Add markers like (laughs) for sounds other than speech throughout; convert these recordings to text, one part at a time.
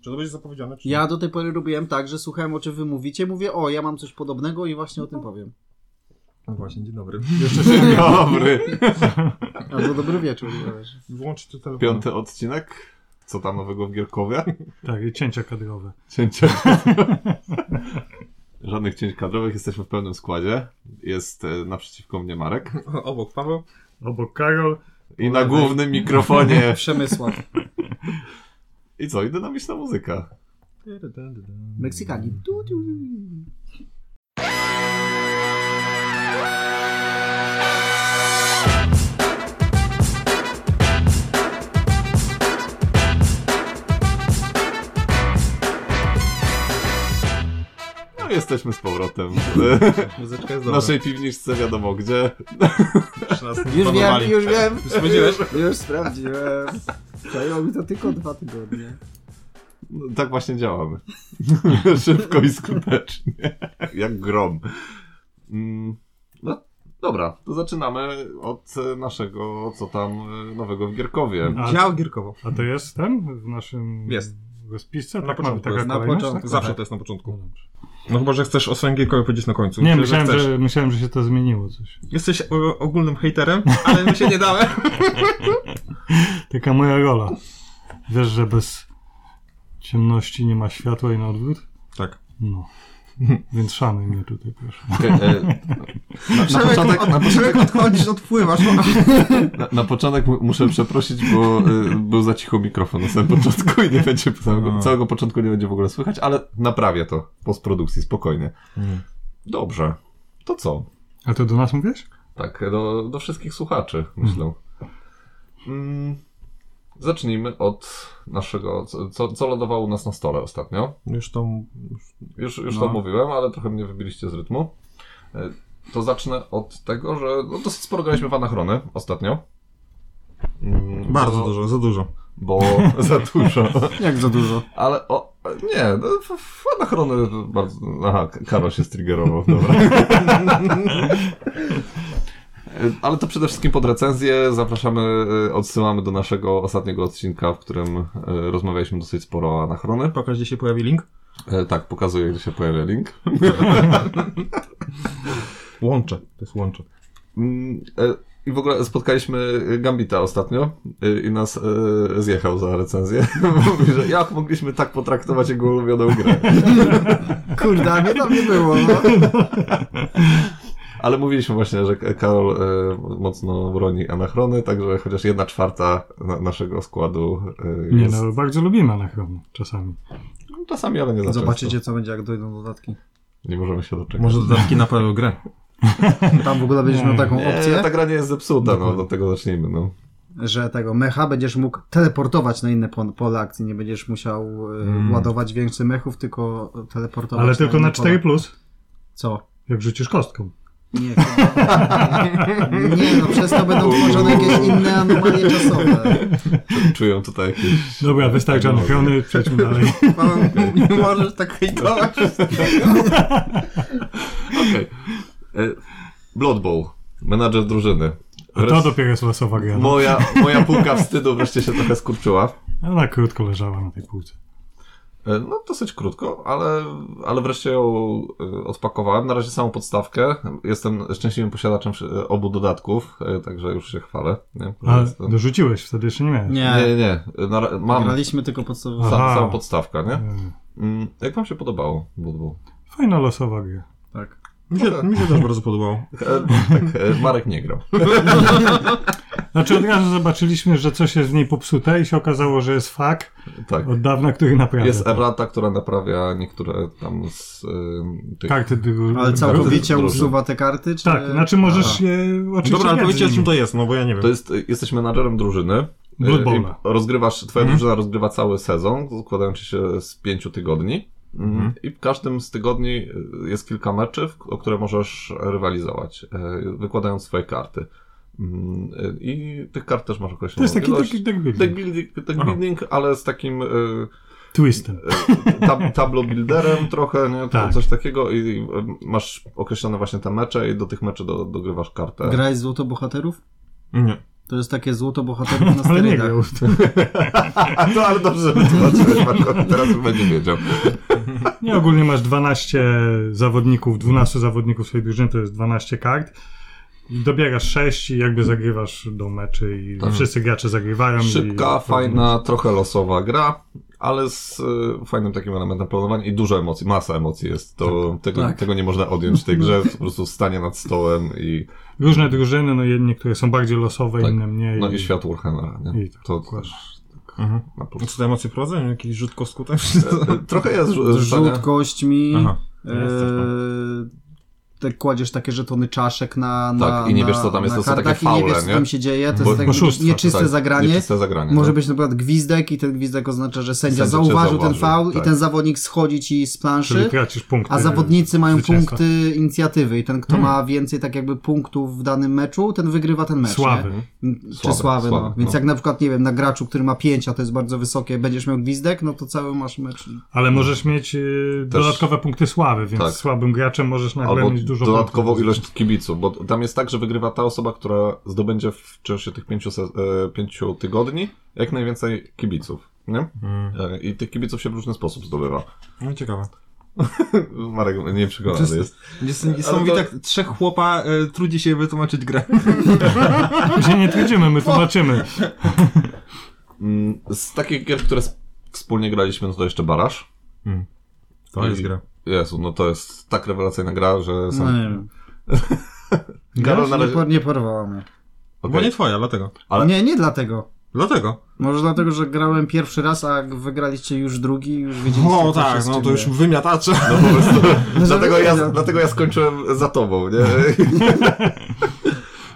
Czy to będzie zapowiedziane? Czy Ja do tej pory robiłem tak, że słuchałem o czym wy mówicie, mówię o, ja mam coś podobnego i właśnie o tym powiem. No właśnie, dzień dobry. Dobry. Albo no, dobry wieczór. wiesz. nie? Włączyć te telefon. Piąty odcinek. Co tam nowego w Gierkowie? Tak, i cięcia kadrowe. Cięcia. Żadnych cięć kadrowych, jesteśmy w pełnym składzie. Jest e, naprzeciwko mnie Marek. Obok Paweł. Obok Karol. I na głównym mikrofonie. Przemysław. I co? I dynamiczna muzyka. Meksykanin. Tu, tu. No jesteśmy z powrotem. Muzyczka jest W dobra. naszej piwniczce wiadomo gdzie. Jeszcze nas nie Już wiem, planowali. już wiem. Już spędziłeś? Już sprawdziłem. Zajęło mi to tylko dwa tygodnie. No, tak właśnie działamy. (laughs) Szybko i skutecznie. Jak grom. Mm, No, dobra, to zaczynamy od e, naszego, co tam e, nowego w Gierkowie. A, Dział Gierkowo. a to jest ten w naszym Jest. rozpisce? Na tak, mamy początku taka jest, na kolejność, początku. Tak? Zawsze to jest na początku. No dobrze. No chyba, że chcesz o swoim Gierkowie powiedzieć na końcu. Nie, Czy, myślałem chcesz? że, myślałem, że się to zmieniło coś. Jesteś o, ogólnym hejterem, ale mi się nie (laughs) dałem. Taka moja rola. Wiesz, że bez ciemności nie ma światła i na odwrót? Tak. (laughs) No. Więc szanuj mnie tutaj, proszę. e, Na początek, na, Człowiek odchodzisz, (laughs) odpływasz. na, na początek mu- muszę przeprosić, bo e, był za cicho mikrofon na samym początku i nie będzie całego, No. całego początku nie będzie w ogóle słychać, ale naprawię to w postprodukcji, spokojnie. Mm. Dobrze, to co? A to do nas mówisz? Tak, do, do wszystkich słuchaczy, myślę. Mm, zacznijmy od naszego, co- co, co lądowało u nas na stole ostatnio. Już tą... Już, już No. to mówiłem, ale trochę mnie wybiliście z rytmu. E, To zacznę od tego, że no, dosyć sporo graliśmy w anachrony ostatnio. Mm, Bardzo bo- dużo, za dużo. Bo (laughs) za dużo. (laughs) Jak za dużo. Ale o, nie, no, w- w anachrony bardzo... Aha, K- Karol się striggerował, dobra. (laughs) Ale to przede wszystkim pod recenzję zapraszamy, e, odsyłamy do naszego ostatniego odcinka, w którym e, rozmawialiśmy dosyć sporo o anachrony. Pokaż, gdzie się pojawi link. E, Tak, pokazuję, gdzie się pojawia link. Łącze. To jest łącze. Mm, e, I w ogóle spotkaliśmy Gambita ostatnio e, i nas e, zjechał za recenzję. (laughs) Mówi, że jak mogliśmy tak potraktować jego ulubioną grę. Kurde, a mnie tam nie było. No. Ale mówiliśmy właśnie, że Karol e, mocno broni anachrony, także chociaż jedna czwarta na, naszego składu e, Nie, jest no, no bardzo lubimy anachrony czasami. czasami, ale nie za No, Zobaczycie często. co będzie jak dojdą dodatki. Nie możemy się doczekać. Może dodatki na pełną grę. Tam w ogóle będziesz miał taką no Nie, opcję, tak- ta gra nie jest zepsuta, no do tego zacznijmy. No. że tego mecha będziesz mógł teleportować na inne pon- pole akcji. Nie będziesz musiał e, ładować większych mechów, tylko teleportować Hmm. Ale tylko inne na 4 pole. plus, Co? jak rzucisz kostką. Nie, kurwa. nie, no przez to będą tworzone jakieś inne anomalie czasowe. Czują tutaj jakieś... Dobra, Tak, wystarczy anachrony, przejdźmy (laughs) dalej. Paweł, nie możesz tak hejtować. Okej. E, Blood Bowl, menadżer drużyny. A to Wreszcie- dopiero jest losowa gra. No. Moja, moja półka wstydu wreszcie się trochę skurczyła. Ona krótko leżała na tej półce. E, No, dosyć krótko, ale, ale wreszcie ją e, odpakowałem. Na razie samą podstawkę. Jestem szczęśliwym posiadaczem e, obu dodatków, e, także już się chwalę. Nie, Że Ale jestem- dorzuciłeś, wtedy jeszcze nie miałeś. nie, Nie, nie. nie. Na, ra- mam graliśmy tylko podstawowe. sam, Aha. samą podstawkę, nie? E, Mm, Jak wam się podobało? Blood Bowl? Fajna losowa gra. Tak. Mi się, mi się też bardzo podobało. E, Tak, e, Marek nie grał. Znaczy od razu zobaczyliśmy, że coś jest w niej popsute i się okazało, że jest fak Tak. od dawna, który naprawia. Jest to. errata, która naprawia niektóre tam z e, tych... Karty dru- Ale całkowicie Dobrze. usuwa te karty, czy... Tak, znaczy możesz je oczywiście Dobra, ale mieć powiedzcie, o z czym nimi. to jest, no bo ja nie wiem. To jest, jesteś menadżerem drużyny. Blood Y, i Bowla. Rozgrywasz, twoja Mhm. drużyna rozgrywa cały sezon, składający się z pięciu tygodni. Mm, Mhm. I w każdym z tygodni y, jest kilka meczy, w- o które możesz rywalizować, y, wykładając swoje karty. Mm, y, I tych kart też masz określoną To jest taki, ilość. taki deck Deck building. building, deck Aha. building ale z takim y, Twistem. y, (laughs) tab, tableau builderem trochę, nie? To Tak. coś takiego i y, masz określone właśnie te mecze i do tych meczy do, dogrywasz kartę. Grałeś złoto bohaterów? Nie. To jest takie złoto bohaterów na (laughs) Ale nie sterydach. grał. A (laughs) to, ale dobrze, że wytłumaczyłeś, Marko, teraz już będzie wiedział. Nie, ogólnie masz 12 zawodników, 12 zawodników swojej drużyny, to jest 12 kart. Dobierasz 6 i jakby zagrywasz do meczy i Tak. wszyscy gracze zagrywają. Szybka, i... fajna, trochę losowa gra, ale z y, fajnym takim elementem planowania i dużo emocji, masa emocji jest. To, tego, Tak. tego nie można odjąć w (laughs) tej grze, po prostu stanie nad stołem i, Różne drużyny, no jedne, które są bardziej losowe, Tak. inne mniej. no i świat Warhammera, nie? I tak. To też Mhm. na A plus. (laughs) co te emocje prowadzą? Jakiś rzut kostką też? Trochę jest rzu- rzucania. Rzut kośćmi. Aha. e, Te kładziesz takie żetony czaszek na, na Tak, i nie na- wiesz, co tam jest, na to są takie kartach i nie faule, wiesz, co nie? tam się dzieje, to Bo- jest takie oszustwa, nieczyste tak, zagranie. Nieczyste zagranie. Może tak. być na przykład gwizdek i ten gwizdek oznacza, że sędzia Sędzia cię zauważył ten zauważył, faul i tak. ten zawodnik schodzi ci z Czyli planszy, tracisz punkty. znaczy, a zawodnicy mają zwycięstwa. punkty inicjatywy i ten kto ma więcej tak jakby punktów w danym meczu, ten wygrywa ten mecz. Sławy. Nie? M, Czy sławy, Sławy, no. sławy, Więc no. jak na przykład, nie wiem, na graczu, który ma pięć, a to jest bardzo wysokie, będziesz miał gwizdek, no to cały masz mecz. Ale możesz mieć y, Też- dodatkowe punkty sławy, więc Tak. słabym graczem możesz tak, nagle Albo mieć dużo dodatkową punktów. ilość kibiców, bo tam jest tak, że wygrywa ta osoba, która zdobędzie w czasie tych pięciu, se- e, pięciu tygodni jak najwięcej kibiców. Nie? Mhm. E, I tych kibiców się w różny sposób zdobywa. No ciekawe. Marek nie To jest- przekonany jest. Jest niesamowite, Ale jak trzech chłopa e, trudzi się wytłumaczyć (laughs) grę. My No, się nie trudzimy, No, my tłumaczymy. Mm, Z takich gier, które sp- wspólnie graliśmy, no to jeszcze Barasz. To jest gra. Jezu, no to jest tak rewelacyjna gra, że No sam... nie wiem. Karol na nie, razie... por, nie porwała mnie. Bo Okej. nie twoja, dlatego. Ale- Nie, nie dlatego. Dlatego. Może dlatego, że grałem pierwszy raz, a wygraliście już drugi, już wiedzieliście, No co się tak, z no czym to je. już wymiatacze. No po prostu. (laughs) (laughs) No, dlatego, ja, żeby- dlatego ja skończyłem za tobą, nie?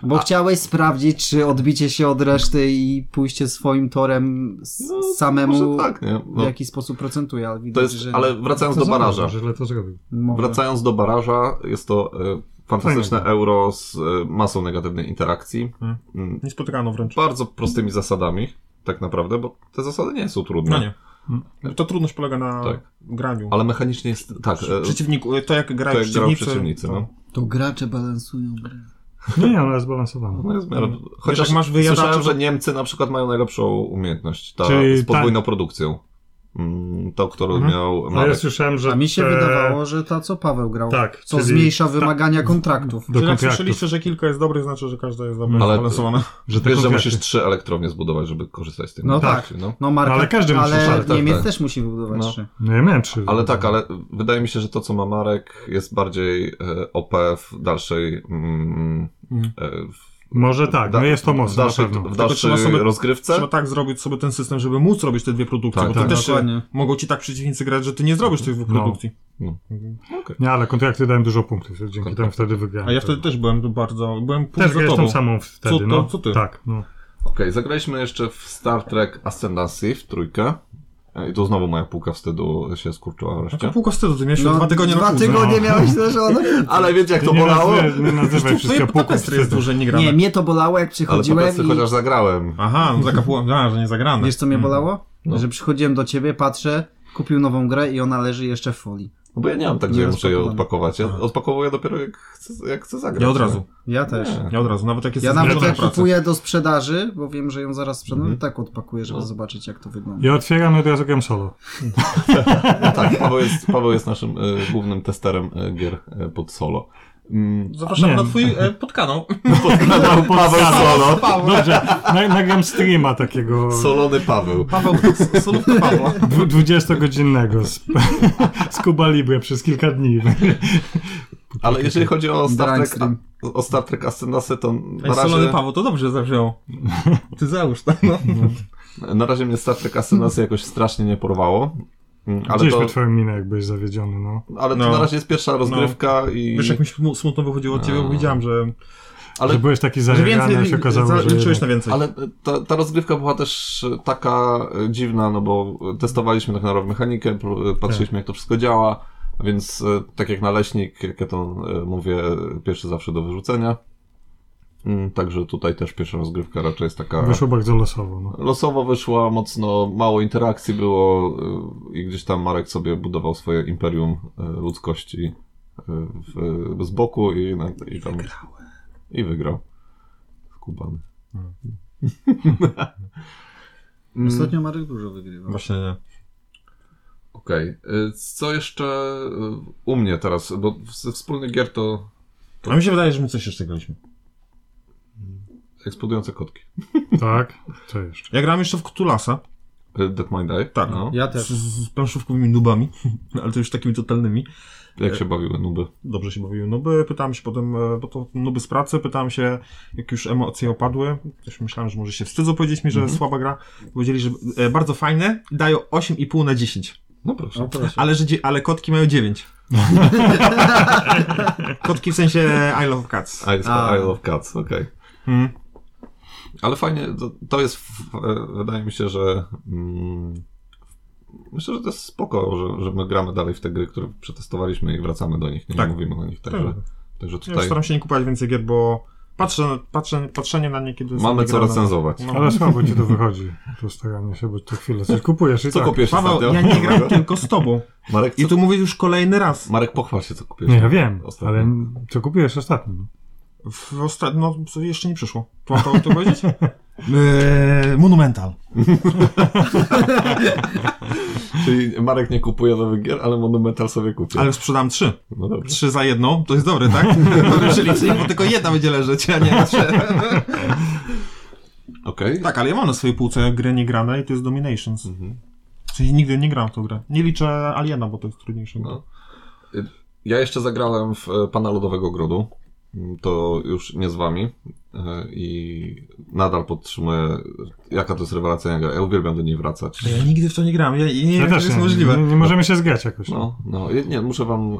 Bo chciałeś sprawdzić, czy odbicie się od reszty i pójście swoim torem s- samemu (laughs) No, Może tak, nie? w No, jakiś sposób procentuje, ale widać, to jest, że... ale wracając do zobacz, Baraża. że źle to zrobił. Może. Wracając do baraża, jest to e, fantastyczne Fajnego. euro z e, masą negatywnej interakcji. Mm. Mm, Nie spotykano wręcz. Bardzo prostymi zasadami, tak naprawdę, bo te zasady nie są trudne. No nie. To trudność polega na Tak. graniu. Ale mechanicznie jest tak. E, Przeciwniku, to jak grają to jak grają przeciwnicy. przeciwnicy. to- No. To gracze balansują grę. Nie, nie, ona jest zbalansowana. No jest w Mm. miarę... jak Chociaż masz wyjadaczy, słyszałem, że to- Niemcy na przykład mają najlepszą umiejętność ta, Czyli z podwójną produkcją. Mm, to, którą Mhm. miał No ja Marek. słyszałem, że... A mi się te- wydawało, że ta, co Paweł grał, Tak, co czyli- zmniejsza wymagania kontraktów. Do Czyli jak kontraktów. słyszeliście, że kilka jest dobrych, znaczy, że każda jest dobra, Ale- zbalansowana. Że te Wiesz, że konkrety. musisz trzy elektrownie zbudować, żeby korzystać z tych No interakcji, No. No Marka, Ale każdy musi- ale ale tak, Niemiec tak. też musi wybudować No. trzy. No ja miałem trzy. Ale tak, ale wydaje mi się, że to, co ma Marek, jest bardziej e, OP w dalszej. Mm, Mhm. e, Może tak, no da- jest to W mocne, na dalszej, pewno. w trzeba dalszej sobie- rozgrywce. Trzeba tak zrobić sobie ten system, żeby móc robić te dwie produkcje, Tak, bo tak. to też się, Dokładnie. mogą ci tak przeciwnicy grać, że ty nie zrobisz tych dwóch No. produkcji. Nie, ale kontrakty dałem dużo punktów, dzięki Kontrakt. temu wtedy wygrałem. A ja wtedy też byłem bardzo, byłem Też punkt za grałeś tą tobą. samą wtedy, to- no. co ty? Tak, no. Okej, zagraliśmy jeszcze w Star Trek Ascendancy w trójkę. E, I tu znowu moja półka wstydu się skurczyła Taka wreszcie. półka wstydu, ty miałeś No, dwa tygodnie na dwa półce. tygodnie No. miałeś też ono. (laughs) (laughs) Ale wiecie, jak Ty to nie bolało? nazywaj- Nie No. nazywaj wszystkiego Twoje puków tapestry jest wstydu. dłużej nie Nie, gramy. mnie to bolało, jak Ale po przychodziłem prostu i... chociaż zagrałem. Aha, no zakapłem, a, że nie zagrane. Wiesz, co Mm. mnie bolało? No. Że przychodziłem do ciebie, patrzę, kupił nową grę i ona leży jeszcze w folii. No bo ja nie mam tak, że Nie ja muszę je rozpakowane. odpakować. Ja odpakowuję dopiero jak chcę, jak chcę Mm. zagrać. Ja od razu, Ja też. ja od razu, nawet jak Ja jestem nawet zmęczony jak w pracy. kupuję do sprzedaży, bo wiem, że ją zaraz sprzedam, tak odpakuję, żeby zobaczyć, jak to wygląda. Ja otwieram i od razu gram solo. Tak, Paweł jest, Paweł jest naszym e, głównym testerem e, gier e, pod solo. Mm, Zapraszam Nie. na twój e, podkanał. Paweł, Paweł Solo. no. Dobrze, na- nagram streama takiego Solony Paweł. Paweł, solówka Pawła. dwu- 20-godzinnego z, z Kuba Libre przez kilka dni. Ale jeżeli chodzi o Star Brań Trek, stream. o Star Trek Ascendancy, to na Ej, solony razie, Paweł, to dobrze zawziął. Ty załóż to, no. na razie mnie Star Trek Ascendancy jakoś strasznie nie porwało. Mm, Ale Widzieliśmy to, twoją minę, jak byłeś zawiedziony, no. ale to No. na razie jest pierwsza rozgrywka i... Wiesz, jak mi śmu- smutno wychodziło od No. ciebie, bo widziałem, że, Ale- Ale... Że byłeś taki że zajarany, więcej, a się okazało, za- że... liczyłeś na jednak- więcej. Ale ta, ta rozgrywka była też e, taka e, dziwna, no bo testowaliśmy tak naprawdę mechanikę, pr- patrzyliśmy jak to wszystko działa, więc e, tak jak naleśnik, jak ja to e, mówię, e, pierwszy zawsze do wyrzucenia. Mm, Także tutaj też pierwsza rozgrywka raczej jest taka... Wyszło bardzo losowo, no. Losowo wyszła, mocno mało interakcji było y, i gdzieś tam Marek sobie budował swoje imperium y, ludzkości y, w, z boku i, na- i tam... I wygrał. Skubany. Mm, Ostatnio Marek dużo wygrywał. Właśnie Okej. Y, Co jeszcze y, u mnie teraz? Bo w- ze wspólnych gier to A mi się wydaje, że my coś jeszcze graliśmy. eksplodujące kotki. Tak, co jeszcze? Ja grałem jeszcze w Cthulasa. Y, Dead Mind Eye. Tak. No. Ja Z, też. z planszówkowymi nubami, (laughs) ale to już takimi totalnymi. Jak się bawiły nuby? Dobrze się bawiły nuby. Pytałem się potem, e, bo to nuby z pracy, pytałem się, jak już emocje opadły. Też myślałem, że może się wstydzą powiedzieć mi, że słaba gra. Powiedzieli, że e, bardzo fajne, dają 8,5 na 10. No proszę. O, proszę. Ale, że, dzie- ale kotki mają 9. (laughs) kotki w sensie I love cats. Isle of- A. Isle of Cats, okej. Mm. Ale fajnie, to, to jest, f- e, wydaje mi się, że mm, myślę, że to jest spoko, że, że my gramy dalej w te gry, które przetestowaliśmy i wracamy do nich, nie Tak. mówimy o nich, także, także Ja już tutaj staram się nie kupować więcej gier, bo patrzę, patrzę, patrzenie na nie, kiedy są mamy co wygrane. recenzować. No. Ale słabo ci to wychodzi, to staranie się, bo co chwilę coś kupujesz i Co tak. kupiłeś Paweł, ostatnio? ja nie gram tylko z tobą. (laughs) Marek, co... I to mówię już kolejny raz. Marek, pochwal się, co kupiłeś. Nie, ja wiem, ostatnio. ale co kupiłeś ostatnio? W osta- no, co jeszcze nie przyszło. Mam to, to (laughs) powiedzieć? Eee, monumental. Czyli Marek nie kupuje nowych gier, ale Monumental sobie kupił. Ale sprzedam trzy. No dobrze. Trzy za jedną. To jest dobry, (laughs) tak? Dobry przelicznik, bo tylko jedna będzie leżeć, a nie trzy. Okej. (laughs) tak, ale ja mam na swojej półce grę niegrane i to jest Dominations. Mhm. Czyli nigdy nie gram w tą grę. Nie liczę Aliena, bo to jest trudniejsze. No. Ja jeszcze zagrałem w e, Pana Lodowego Ogrodu. Mm, To już nie z wami. E, I nadal podtrzymuję, jaka to jest rewelacyjna gra. Ja uwielbiam do niej wracać. Ja nigdy w to nie gram. Ja, ja nie Ja wiem, czy to jest nie, możliwe. Nie, nie możemy się zgrać jakoś. No, no, i nie, muszę wam e,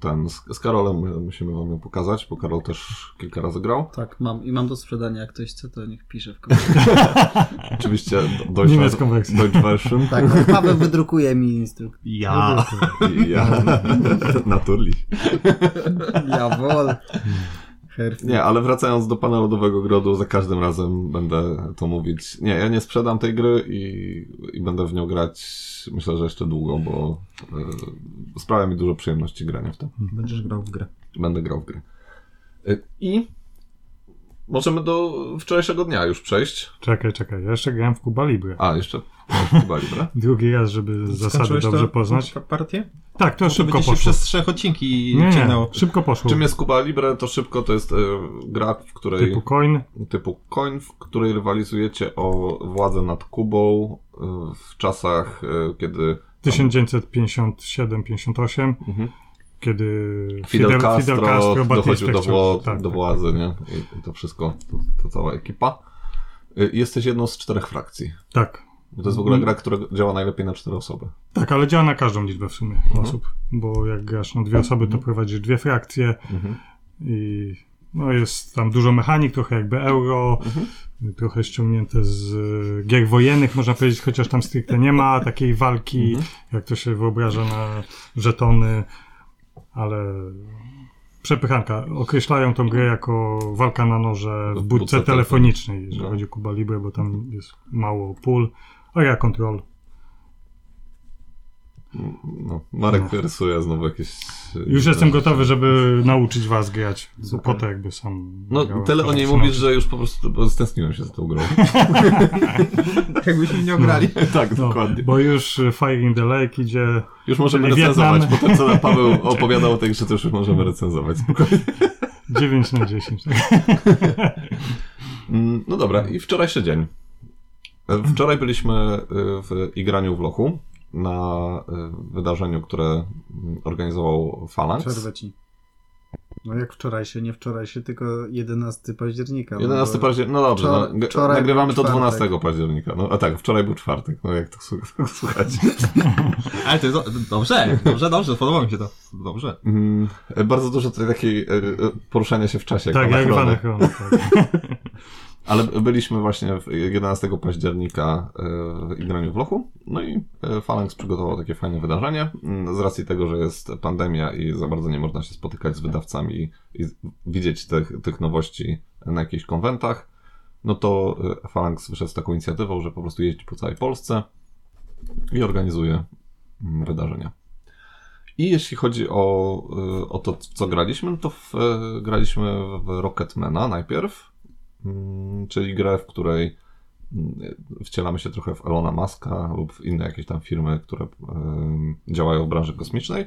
ten, z, z Karolem e, musimy wam ją pokazać, bo Karol też kilka razy grał. Tak, mam. I mam do sprzedania. Jak ktoś chce, to niech pisze w komentarzu. Oczywiście do- Niemiecką wersję. Deutsch Version. Tak, Paweł wydrukuje mi instrukcję. Ja. I ja. (laughs) Naturli. Jawol. Herf. Nie, ale wracając do pana Lodowego Grodu, za każdym razem będę to mówić. Nie, ja nie sprzedam tej gry i, i będę w nią grać myślę, że jeszcze długo, bo y, sprawia mi dużo przyjemności grania w to. Będziesz grał w grę. Będę grał w gry. Y, I możemy do wczorajszego dnia już przejść. Czekaj, czekaj, ja jeszcze grałem w Kuba Libre. A, jeszcze chyba Libra. Drugi raz, żeby zasady Skończyłeś dobrze to- poznać. No, pa- Partię? Tak, to szybko Będzie się poszło. przez trzech odcinki Nie, nie, ciągnęło. szybko poszło. Czym jest Kuba Libre? To szybko to jest y, gra, w której... Typu coin, typu coin, w której rywalizujecie o władzę nad Kubą y, w czasach, y, kiedy 1957-58, Mhm. kiedy Fidel, Castro, dochodził Batista do, chciał- wło- tak, do tak. władzy, nie? I, I to wszystko, to, to cała ekipa. Y, Jesteś jedną z czterech frakcji. Tak, To jest w ogóle gra, która działa najlepiej na cztery osoby. tak, ale działa na każdą liczbę w sumie Mhm. osób, bo jak grasz na dwie osoby, to prowadzisz dwie frakcje i no jest tam dużo mechanik, trochę jakby euro, Mhm. trochę ściągnięte z e, gier wojennych, można powiedzieć, chociaż tam stricte nie ma takiej walki, Mhm. jak to się wyobraża na żetony, ale przepychanka. Określają tą grę jako walka na noże w W budce budce telefonicznej, jeżeli No. chodzi o Kuba Libre, bo tam jest mało pól, a ja kontrol. No, Marek rysuje znowu jakieś... y, Już jestem gotowy, żeby nauczyć was grać, bo po to jakby sam No, grałem, tyle o niej zaczynam. mówisz, że już po prostu stęskniłem się za tą grą. (laughs) Jakbyśmy nie ograli. tak, No, dokładnie. bo już e, Fire in the Lake idzie. Już możemy Czyli recenzować, Wietnam. po tym co nam Paweł opowiadał o tej grze, to już możemy recenzować. Spokojnie. 9 na (laughs) 10. tak? Mm, No dobra, i wczorajszy dzień. E, Wczoraj byliśmy y, w Igraniu w Lochu na y, wydarzeniu, które mm, organizował Falanx. Przerwę ci. No jak wczorajszy, nie wczorajszy, tylko 11 października. 11 października, no dobrze, Wczor- no, g- wczoraj nagrywamy był to czwartek. 12 października. No a tak, wczoraj był czwartek, no jak to słu- (laughs) słuchać. Ale to jest dobrze, dobrze, dobrze, podoba mi się to. Dobrze. Mm, e, Bardzo dużo tutaj takiej e, e, poruszania się w czasie. Tak, jak w anachrony. Anachrony. Tak. Ale byliśmy właśnie w 11 października e, w Igraniu w Lochu, no i e, Phalanx przygotował takie fajne wydarzenie. Mm, Z racji tego, że jest pandemia i za bardzo nie można się spotykać z wydawcami i, i z- widzieć tych, tych nowości na jakichś konwentach, no to e, Phalanx wyszedł z taką inicjatywą, że po prostu jeździ po całej Polsce i organizuje mm, wydarzenia. I jeśli chodzi o, e, o to, co graliśmy, no to w, e, graliśmy w Rocketmana najpierw. mm, czyli grę, w której mm, wcielamy się trochę w Elona Muska lub w inne jakieś tam firmy, które em, działają w branży kosmicznej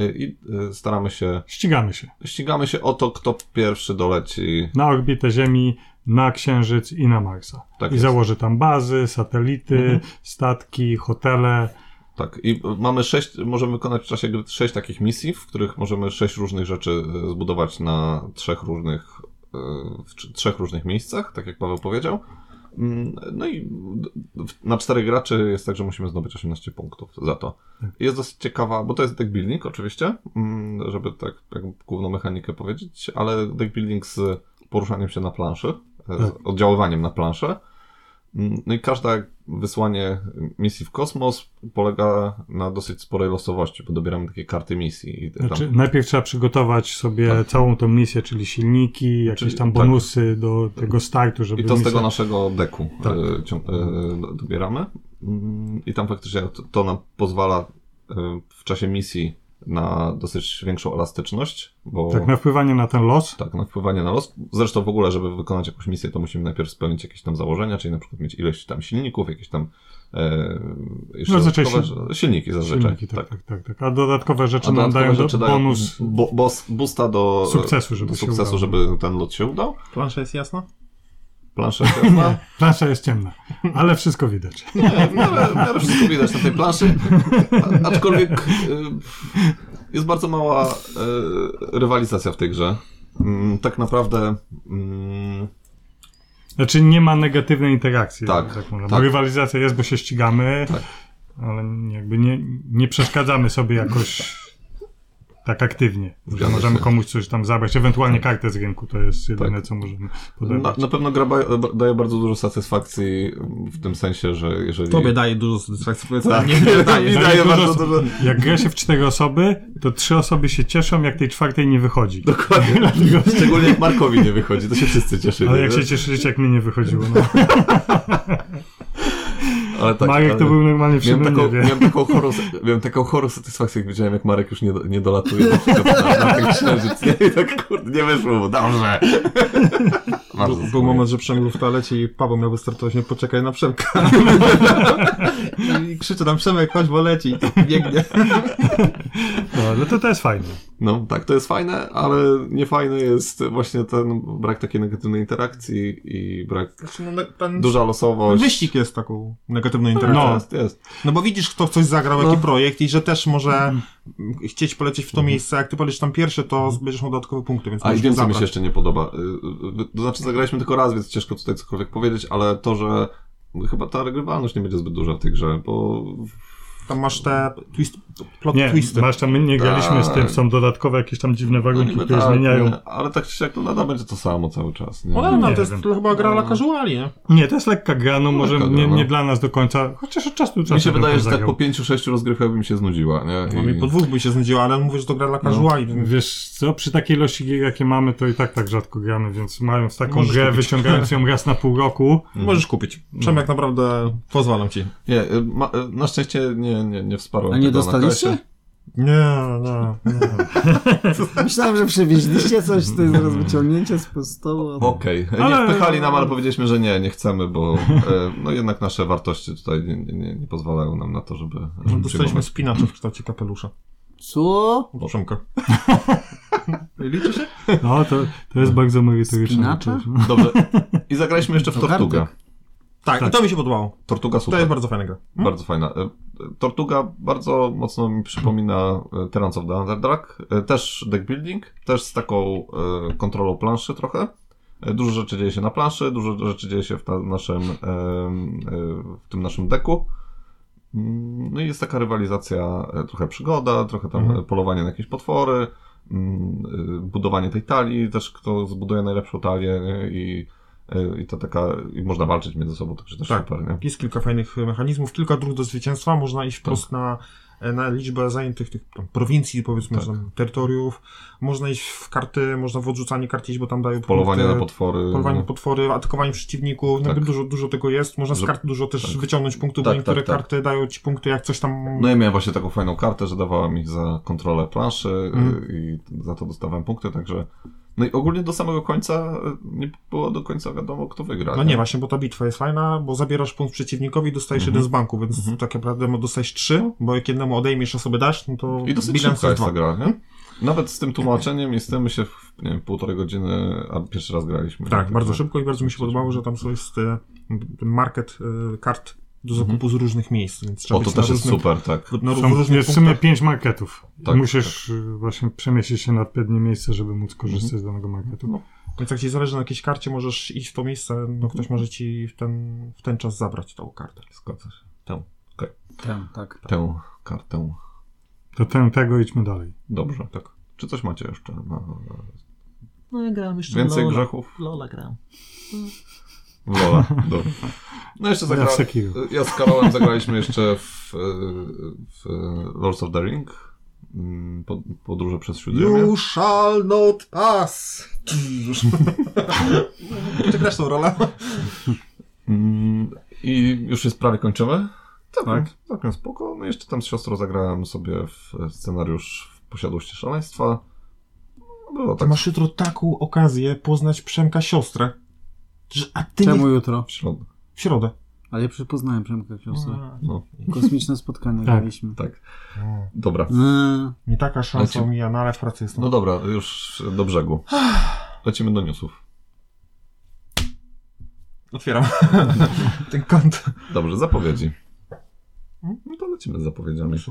y, i y, staramy się, Ścigamy się. ścigamy się o to, kto pierwszy doleci. Na orbitę Ziemi, na Księżyc i na Marsa. Tak I jest. Mhm. założy tam bazy, satelity, statki, hotele. Tak, i mamy sześć, możemy wykonać w czasie gry sześć takich misji, w których możemy sześć różnych rzeczy e, zbudować na trzech różnych, e, w tr- trzech różnych miejscach, tak jak Paweł powiedział. Mm, No i d- w- na czterech graczy jest tak, że musimy zdobyć 18 punktów za to. Jest dosyć ciekawa, bo to jest deck building oczywiście, mm, żeby tak jak główną mechanikę powiedzieć, ale deck building z poruszaniem się na planszy, e, z oddziaływaniem na planszę. Mm, No i każde wysłanie misji w kosmos polega na dosyć sporej losowości, bo dobieramy takie karty misji. I tam, Znaczy, najpierw trzeba przygotować sobie Tak. całą tą misję, czyli silniki, jakieś Czyli- tam tak. bonusy do tego startu, żeby I to z misja- tego naszego deku Tak. e, cią- e, do- dobieramy. Mm, I tam faktycznie to, to nam pozwala e, w czasie misji na dosyć większą elastyczność, bo Tak, na wpływanie na ten los. Tak, na wpływanie na los. Zresztą w ogóle, żeby wykonać jakąś misję, to musimy najpierw spełnić jakieś tam założenia, czyli na przykład mieć ileś tam silników, jakieś tam e, jeszcze No, zazwyczaj dodatkowe- silniki zazwyczaj. Silniki, tak, tak. tak, tak, tak. A dodatkowe rzeczy A nam dodatkowe dają rzeczy do, bonus. bo, bos- boosta do Sukcesu, żeby do się sukcesu, udało. żeby ten lot się udał. Plansza jest jasna? (laughs) Plansza jasna. Plansza jest ciemna, ale wszystko widać. Nie, w miarę, w miarę wszystko widać na tej planszy. A, aczkolwiek y, jest bardzo mała y, rywalizacja w tej grze. Mm, tak naprawdę mm, Znaczy nie ma negatywnej interakcji. Tak, można. tak. Bo rywalizacja jest, bo się ścigamy, Tak. ale jakby nie, nie przeszkadzamy sobie jakoś tak aktywnie. Że Zgadza możemy się. komuś coś tam zabrać, ewentualnie kartę z rynku, to jest jedyne, Tak. co możemy Znaczy, Na, podawać. na pewno gra ba- ba- daje bardzo dużo satysfakcji w tym sensie, że jeżeli... Tobie daje dużo satysfakcji, powiedzmy. Tak. Nie, nie daje. Mi daje bardzo osób- dużo- Jak gra się w cztery osoby, to trzy osoby się cieszą, jak tej czwartej nie wychodzi. (laughs) Dokładnie. Szczególnie jak Markowi nie wychodzi, to się wszyscy cieszyli. Ale jak się wiesz? cieszyć, jak mi nie wychodziło. No. ale (laughs) tak, Marek ale- to był normalnie przy Miałem mnie, taką, wie. miałem, taką chorą, miałem taką chorą satysfakcję, jak widziałem, jak Marek już nie, nie dolatuje do (laughs) szczytu na, na ten księżyc. Nie, (laughs) I tak kurde, nie wyszło mu, (laughs) dobrze. Bardzo Był moment, że Przemek był w toalecie i Paweł miał wystartować, nie poczekaj na (laughs) Przemka. I krzyczy tam Przemek, chodź, bo leci. I tak biegnie. No, ale to, to jest fajne. No tak, to jest fajne, ale niefajny jest właśnie ten brak takiej negatywnej interakcji i brak... Znaczy, no, ne- ten Duża losowość. wyścig jest taką negatywną interakcją. No. No. Jest, jest. bo widzisz, kto w coś zagrał, No. jaki projekt i że też może chcieć polecieć w to miejsce. Jak ty polecisz tam pierwsze, to będziesz miał dodatkowe punkty, więc A i możesz wiem, co mi się zabrać. jeszcze nie podoba. Y, y, y, To znaczy, zagraliśmy tylko raz, więc ciężko tutaj cokolwiek powiedzieć, ale to, że chyba ta regrywalność nie będzie zbyt duża w tej grze, bo Tam masz te twist, plot Nie, twisty. masz tam, my nie graliśmy z tym, Tak. są dodatkowe jakieś tam dziwne warunki, niby które tak, zmieniają. nie, ale tak czy siak to nadal będzie to samo cały czas. Nie? No ale no, Nie to jest wiem. to chyba gra dla casuali, nie? Nie, to jest lekka gra, no może lekka nie, gra, no. nie dla nas do końca, chociaż od czasu do czasu. Mi się bym wydaje, tam że tak zagrał. po pięciu, sześciu rozgrywkach bym się znudziła. Nie? No mi po dwóch by się znudziło, ale on mówi, że to gra dla casuali. więc Wiesz co, przy takiej ilości gier, jakie mamy, to i tak tak rzadko gramy, więc mając taką Możesz grę, kupić. wyciągając ją raz na pół (laughs) roku, Możesz kupić. Mhm. Przemek, naprawdę pozwalam ci. nie, y, ma, y, na szczęście nie, nie, nie wsparłem A nie tego na dostaliście? kasie. Nie, nie, nie. Myślałem, że przywieźliście coś, to (laughs) jest zaraz wyciągnięcie z stołu. a- Okej, Ale- nie wpychali nam, No. ale powiedzieliśmy, że nie, nie chcemy, bo y, no jednak nasze wartości tutaj nie, nie- nie, nie pozwalają nam na to, żeby... żeby Dostaliśmy przyjmować. spinacza w kształcie kapelusza. Co? Od Przemka. Liczy się? no to, to jest bardzo merytoryczne. Spinacza? Dobrze. I zagraliśmy jeszcze w To Tortugę. Tak, i to mi się podobało. Tortuga super. To jest bardzo fajna gra. Mhm. Bardzo fajna. E, Tortuga bardzo mocno mi przypomina e, Terrans of the Underdark. E, Też deck building, też z taką e, kontrolą planszy trochę. E, Dużo rzeczy dzieje się na planszy, dużo rzeczy dzieje się w, ta, naszym, em, e, w tym naszym deku. Mm, No i jest taka rywalizacja, e, trochę przygoda, trochę tam Mhm. e, polowanie na jakieś potwory, mm, e, budowanie tej talii, też kto zbuduje najlepszą talię nie? i, e, i to taka, i można walczyć między sobą, także też Tak. super, nie? Jest kilka fajnych e, mechanizmów, kilka dróg do zwycięstwa. Można Tak. iść wprost na, e, na liczbę zajętych tych tam, prowincji, powiedzmy, Tak. że tam, terytoriów. Można iść w karty, można w odrzucanie karty iść, bo tam dają Polowanie punkty. na potwory. no. Polowanie na potwory, atakowanie przeciwników, jakby Tak. dużo, dużo tego jest. Można z Że- kart dużo też tak. wyciągnąć punktów, Tak, bo niektóre tak, tak. karty dają ci punkty, jak coś tam No ja miałem właśnie taką fajną kartę, że dawała mi za kontrolę planszy Mhm. y, i za to dostawałem punkty, także No i ogólnie do samego końca e, nie było do końca wiadomo, kto wygra. No nie, właśnie, bo ta bitwa jest fajna, bo zabierasz punkt przeciwnikowi i dostajesz jeden Mhm. z banku, więc tak naprawdę mo- dostajesz trzy, bo jak jednemu odejmiesz, a sobie dasz, no to I dosyć bilans Mhm. szybka jest dwa. ta gra, nie? Nawet z tym tłumaczeniem jesteśmy się w nie wiem, półtorej godziny, a pierwszy raz graliśmy. Tak, bardzo szybko i bardzo mi się podobało, że tam są- jest e, ten market e, kart do zakupu z różnych miejsc, więc trzeba Mhm. O, to być też na jest różnym, super, tak. Na ró- w no, Są, różnych jest w sumie punktach. pięć marketów. Tak, Musisz y, właśnie przemieścić się na odpowiednie miejsce, żeby móc korzystać z danego marketu. No. Więc jak ci zależy na jakiejś karcie, możesz iść w to miejsce, no ktoś może ci w ten, w ten czas zabrać tą kartę. Zgadza się. Tę, Tam, tak. tę kartę. To ten, tego idźmy dalej. Dobrze, tak. Czy coś macie jeszcze? No, No ja grałem jeszcze więcej w Lola. grzechów? W Lola grałem. Lola, dobra. No jeszcze Ja zagra... w Sekiro. Ja z Karolem zagraliśmy jeszcze w, e, w e, Lords of the Ring. Mm, Pod, podróże przez Śródziemie. You shall not pass! Czy grasz tą rolę? Mm, I już jest prawie kończymy. Całkiem, tak. całkiem spoko. No jeszcze tam z siostrą zagrałem sobie w scenariusz w posiadłości szaleństwa. No, Było Ty tak masz jutro taką okazję poznać Przemka siostrę, że a ty Czemu nie... jutro? w środę. w środę. Ale ja przypoznałem Przemka Kiosa. No, Kosmiczne spotkanie Tak. mieliśmy. tak. Dobra. Eee, Nie taka szansa Ale ci- mija, no ale w pracy jest. Znaczy- No dobra, już do (sighs) brzegu. Lecimy do newsów. Otwieram (laughs) ten kąt. Dobrze, zapowiedzi. No to lecimy z zapowiedziami. (laughs)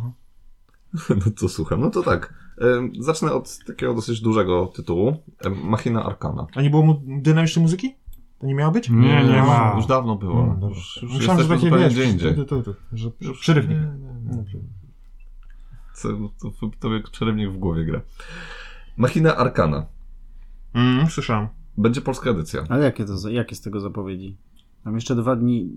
No to słucham, no to tak. Em, Zacznę od takiego dosyć dużego tytułu. Em, Machina Arkana. A nie było mu dynamicznej muzyki? To nie miała być? Nie, nie już, ma. Już dawno było. No, dobrze. już, już Myślałem, że jesteśmy takie zupełnie wiesz, gdzie ty- indziej. ty- ty- że że przerywnik. Nie, nie, nie. Dobrze. Co, to, to, to jak czerwnik w głowie gra. Machina Arkana. Mm, słyszałem. Będzie polska edycja. ale jakie, to, za- jakie z tego zapowiedzi? Tam jeszcze dwa dni...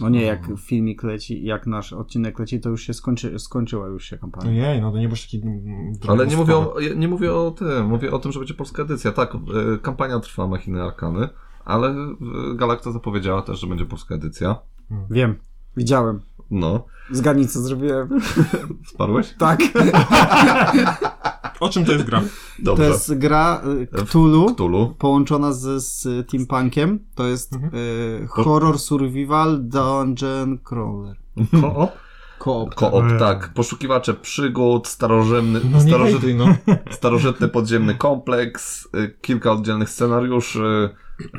No nie, jak filmik leci, jak nasz odcinek leci, to już się skończy, skończyła już się kampania. Ojej, no to nie bądź taki... mm, Ale nie mówię, drogowskowy. o, nie mówię o tym, mówię o tym, że będzie polska edycja. Tak, e, kampania trwa Machiny Arkany, ale e, Galacta zapowiedziała też, że będzie polska edycja. Wiem, widziałem. No, Zgadnij co zrobiłem. sparłeś? Tak, O czym to jest gra? to Dobrze. jest gra y, W Cthulhu Cthulhu. połączona z, z Team Punkiem. To jest Mhm. y, horror survival dungeon crawler. Koop? Koop. Koop, Mm. tak. Poszukiwacze przygód, starożytny, No nie starożytny, hejtuj, no. (laughs) starożytny podziemny kompleks, y, kilka oddzielnych scenariuszy.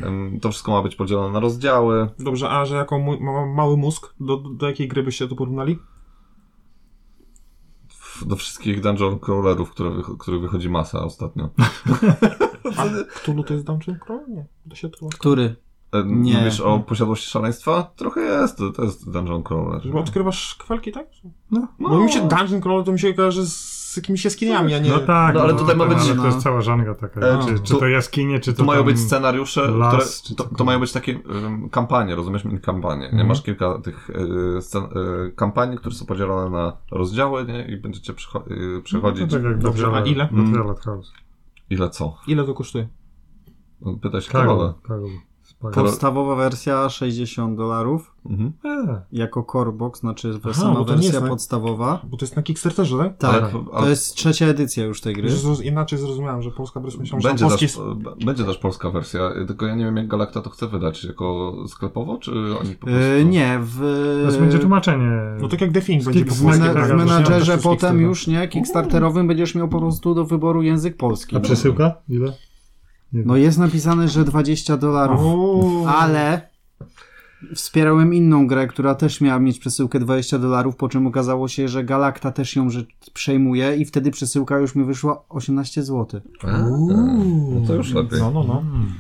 em, To wszystko ma być podzielone na rozdziały. Dobrze, a że jako mu- ma- mały mózg, do, do jakiej gry byście to porównali? F- Do wszystkich dungeon crawlerów, które wych- których wychodzi masa ostatnio. A Cthulhu to jest Dungeon Crawl? Nie, to się odkryło. Który? E, Nie. Mówisz o posiadłości szaleństwa? Trochę jest, to, to jest dungeon crawler. Że Odkrywasz kwelki, tak? No, Bo mi się Dungeon Crawl to mi się kojarzy z jakimiś jaskiniami, a nie... No tak, No, ale tutaj ma tak, być- ale to no. jest cała żanga taka. E, czy, tu- czy to jaskinie, czy to To mają tam... być scenariusze, las, które, czy to, to cokolwiek. mają być takie em, kampanie, rozumiesz? Mini kampanie. Nie? Mhm. Masz kilka tych y, scen, y, kampanii, które są podzielone na rozdziały nie? i będziecie przycho- y, No, przechodzić tak jak Dobrze, Dobrze, a ile? Mm. Do Twilight House. ile co. No, Ile to kosztuje? Pytaj się Karol. Karola. Karol. Spalił. Podstawowa wersja 60 dolarów Mhm. E, jako core box, znaczy Aha, sama bo to nie wersja jest na- podstawowa. Bo to jest na Kickstarterze, tak? Tak, Ale- to ale- jest trzecia edycja już tej gry. Że zroz- inaczej zrozumiałem, że polska wersja myślałem, że Będzie, tam polski też, e, b- będzie też polska wersja, y, tylko ja nie wiem jak Galacta to chce wydać, jako sklepowo, czy oni po prostu... Yy, nie, w... Teraz będzie tłumaczenie. No tak jak Defing będzie Kick- po z polsku. mena- tak, z jak myślałem, że menadżerze to jest potem Kickstarter. już, nie? Kickstarterowym będziesz miał po prostu do wyboru język polski. A przesyłka? Ile? Nie No jest napisane, że 20 dolarów, Uuu. ale wspierałem inną grę, która też miała mieć przesyłkę 20 dolarów, po czym okazało się, że Galacta też ją że przejmuje i wtedy przesyłka już mi wyszła 18 zł. A, no to już lepiej. No, (laughs) no, no. Mm.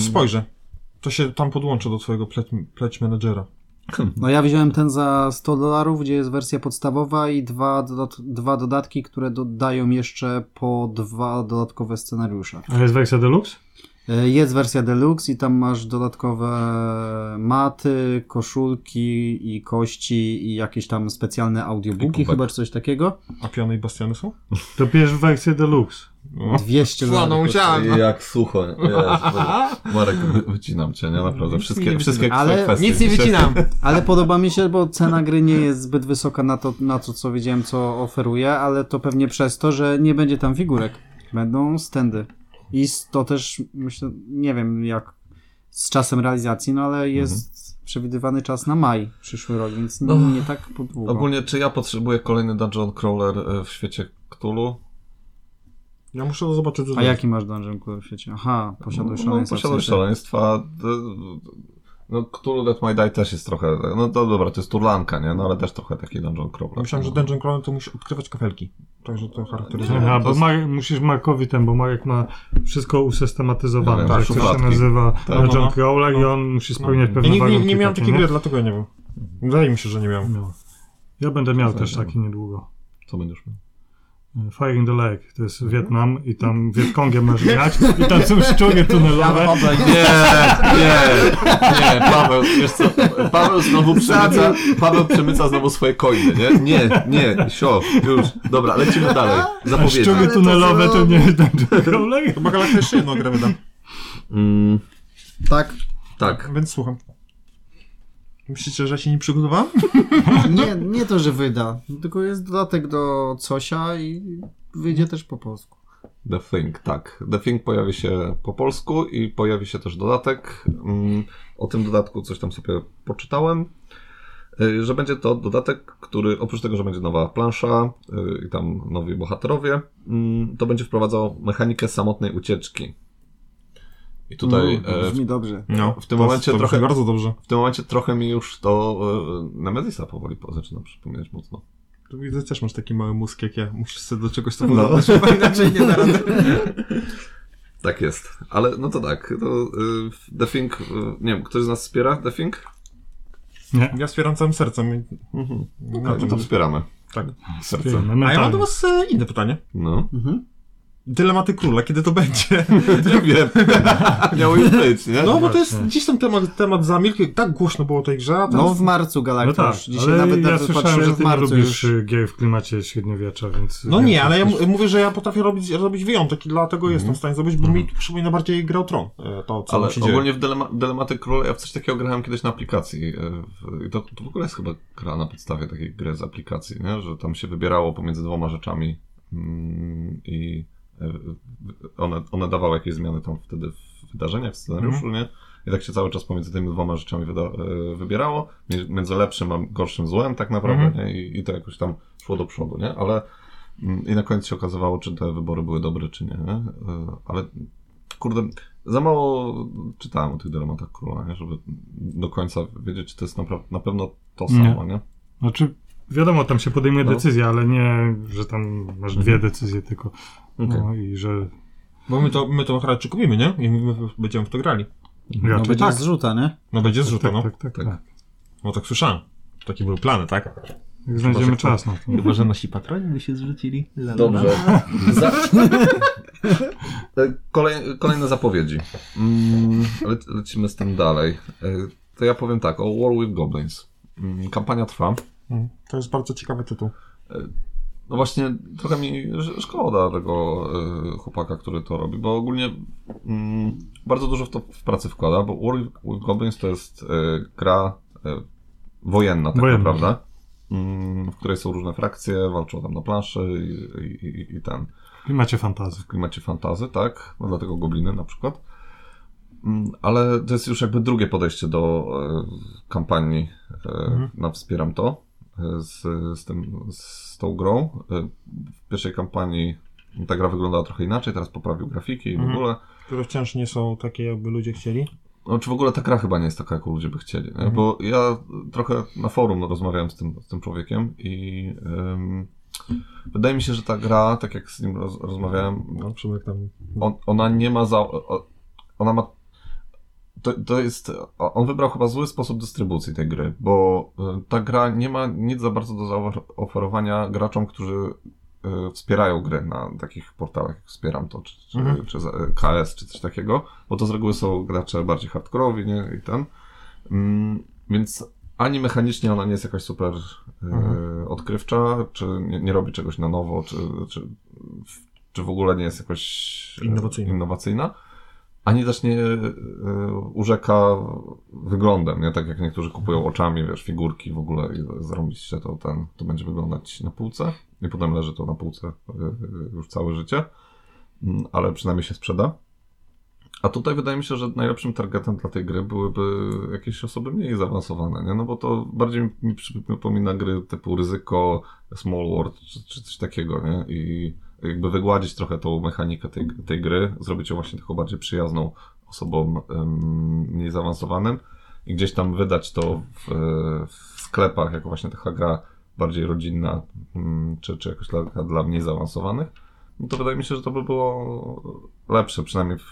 Spojrzę. To się tam podłączę do twojego pleć, pleć menadżera. No ja wziąłem ten za 100 dolarów, gdzie jest wersja podstawowa i dwa, dodat- dwa dodatki, które dodają jeszcze po dwa dodatkowe scenariusze. A jest wersja deluxe? E, Jest wersja deluxe i tam masz dodatkowe maty, koszulki i kości i jakieś tam specjalne audiobooki, kubek. chyba czy coś takiego. A piony i bastiony są? To bierz wersję deluxe. O. 200 no, dolarów. Jak sucho. Jezu. Marek, wy- wycinam cię, nie? Naprawdę. Nic Wszystkie, mi nie wszystkie wycinam. Ale kwestie. Nic nie dzisiaj. wycinam. Ale podoba mi się, bo cena gry nie jest zbyt wysoka na to, na to co wiedziałem, co oferuje, ale to pewnie przez to, że nie będzie tam figurek. Będą stędy. I s- to też, myślę, nie wiem jak z czasem realizacji, no ale jest Mhm. przewidywany czas na maj przyszły rok, więc No. nie tak po długo. Ogólnie, czy ja potrzebuję kolejny dungeon crawler e, w świecie Cthulhu? Ja muszę zobaczyć. co A to jest. jaki masz dungeon crawler w świecie? Aha, posiadłeś no, szaleństwa. w Posiadłeś sensie. szaleństwa. d- d- e, No, Cthulhu That My Die też jest trochę... No to dobra, to jest turlanka, nie? No ale też trochę taki dungeon crawler. Ja myślałem, że No. Dungeon Crawler to musi odkrywać kafelki. Także No, to charakteryzuje. Aha, to bo jest- Mar- musisz Markowi ten, bo Marek ma wszystko usystematyzowane, Nie wiem, tak, jak tak, to się przypadki. nazywa no, John no. Crowler i on musi spełniać Ja pewne nigdy nie, warunki. nie miałem takie, takiej nie? gry, dlatego ja nie wiem. Wydaje mi się, że nie miałem. No. Ja będę miał też Fajne. taki niedługo. E, Co będziesz miał? Fire in the Lake, to jest Mhm. Wietnam i tam Wietkongiem masz grać i tam (laughs) są szczury tunelowe. Nie, nie, nie, Paweł, wiesz co, Paweł znowu przemyca, Paweł przemyca znowu swoje coiny, nie? Nie, nie, sio, już, dobra, lecimy dalej, A zapowiedzi. szczury tunelowe to nie jest Dungeon Crawler. Chyba Galakta jeszcze jedną grę wydam, Mm, Tak. tak, więc słucham. Myślicie, że się nie przygotowałem? Nie, nie to, że wyda, tylko jest dodatek do Cosia i wyjdzie też po polsku. The Thing, tak. The Thing pojawi się po polsku i pojawi się też dodatek. Mm, O tym dodatku coś tam sobie poczytałem. Y, Że będzie to dodatek, który oprócz tego, że będzie nowa plansza y, i tam nowi bohaterowie, mm, to będzie wprowadzał mechanikę samotnej ucieczki. I tutaj e, w Brzmi dobrze. No, w tym momencie to trochę- brzmi bardzo dobrze. w tym momencie trochę mi już to e, Nemezisa powoli po- zaczyna przypominać mocno. Tu widzę, też masz taki mały mózg jak ja. Musisz sobie do czegoś to No. porównać, bo inaczej nie da rady. Tak jest, ale no to tak. To, y, The Thing, y, nie wiem, ktoś z nas wspiera The Thing? Nie, Ja wspieram całym sercem. i- Mhm. No, No, to wspieramy. tak. Serce. no A ja mam do was e, inne pytanie. No. Mhm. Dylematy króla, kiedy to (laughs) będzie? (laughs) Nie wiem. (laughs) Miało już być, No, nie? bo to właśnie. jest gdzieś tam temat, temat zamilkł. Tak głośno było o tej grze, a teraz... No w marcu No Galakta tak, już. Dzisiaj ale nawet ja nawet słyszałem, patrzyłem, że ty w nie marcu lubisz już. y, gier w klimacie średniowiecza, więc... No więc nie, ale ja coś- m- mówię, że ja potrafię robić, robić wyjątek i dlatego jestem w stanie zrobić, bo mi przypomina bardziej grę o tron. e, To, co Ale nam się dzieje. ogólnie w Dilema Dylematy Króla ja w coś takiego grałem kiedyś na aplikacji. e, w- I to, to w ogóle jest chyba gra na podstawie takiej gry z aplikacji, nie? że tam się wybierało pomiędzy dwoma rzeczami mm, i e, w- one, one dawały jakieś zmiany tam wtedy w wydarzeniach, w scenariuszu, Mhm. nie? I tak się cały czas pomiędzy tymi dwoma rzeczami wyda, e, wybierało. Mie- Między lepszym a gorszym złem tak naprawdę Mhm. nie? I, i to jakoś tam szło do przodu, nie? Ale mm, i na koniec się okazywało, czy te wybory były dobre, czy nie. nie? E, Ale kurde, za mało czytałem o tych dylematach króla, nie? żeby do końca wiedzieć, czy to jest na, na pewno to Nie. samo, nie? Znaczy, wiadomo, tam się podejmuje No. decyzja, ale nie, że tam masz dwie decyzje tylko. Okej. No i że... Bo my to, my to raczej kupimy, nie? I my będziemy w to grali. No raczej będzie tak. zrzuta, nie? No będzie zrzuta, tak, no. tak, tak, tak, Tak. No tak słyszałem. Takie były plany, tak? Jak znajdziemy czas na to. Chyba, że nasi patroni by się zrzucili. La, la, la. (laughs) Za... E, Kolej, kolejne zapowiedzi. Mm, le, lecimy z tym dalej. E, To ja powiem tak, o War with Goblins. Mm, Kampania trwa. Mm, To jest bardzo ciekawy tytuł. No właśnie, trochę mi sz- szkoda tego e, chłopaka, który to robi, bo ogólnie mm, bardzo dużo w to w pracy wkłada, bo War with- with Goblins to jest e, gra e, wojenna tak Wojenna. naprawdę, mm, w której są różne frakcje, walczą tam na planszy i, i, i, i ten I macie fantazję. w klimacie fantazy, tak? No dlatego gobliny na przykład. Mm, Ale to jest już jakby drugie podejście do e, kampanii e, na Wspieram To e, z, z, tym, z tą grą. E, w pierwszej kampanii ta gra wyglądała trochę inaczej, teraz poprawił grafiki i w Mhm. ogóle. Które wciąż nie są takie, jakby ludzie chcieli. No, czy w ogóle ta gra chyba nie jest taka, jaką ludzie by chcieli. nie? Bo ja trochę na forum rozmawiałem z tym, z tym człowiekiem i em, wydaje mi się, że ta gra, tak jak z nim roz, rozmawiałem, No, Przemek tam... on, ona nie ma za. o- Ona ma. To, to jest. o- On wybrał chyba zły sposób dystrybucji tej gry, bo y, ta gra nie ma nic za bardzo do zaoferowania graczom, którzy y, wspierają gry na takich portalach jak Wspieram to, czy, czy, Mhm. czy za- KS, czy coś takiego, bo to z reguły są gracze bardziej hardkorowi, nie? I ten. Mm, więc ani mechanicznie ona nie jest jakaś super y, odkrywcza, czy nie, nie robi czegoś na nowo, czy, czy, czy w ogóle nie jest jakoś e, Innowacyjna. innowacyjna ani też nie e, urzeka wyglądem, nie? Tak jak niektórzy kupują oczami, wiesz, figurki w ogóle i zrobić się to ten, to będzie wyglądać na półce i potem leży to na półce e, e, już całe życie. Mm, ale przynajmniej się sprzeda. A tutaj wydaje mi się, że najlepszym targetem dla tej gry byłyby jakieś osoby mniej zaawansowane, nie? No bo to bardziej mi przypomina gry typu ryzyko, small world czy, czy coś takiego, nie? I jakby wygładzić trochę tą mechanikę tej, tej gry, zrobić ją właśnie taką bardziej przyjazną osobom em, mniej zaawansowanym i gdzieś tam wydać to w, w sklepach, jako właśnie taka gra bardziej rodzinna, mm, czy, czy jakoś dla, dla mniej zaawansowanych, no to wydaje mi się, że to by było lepsze, przynajmniej w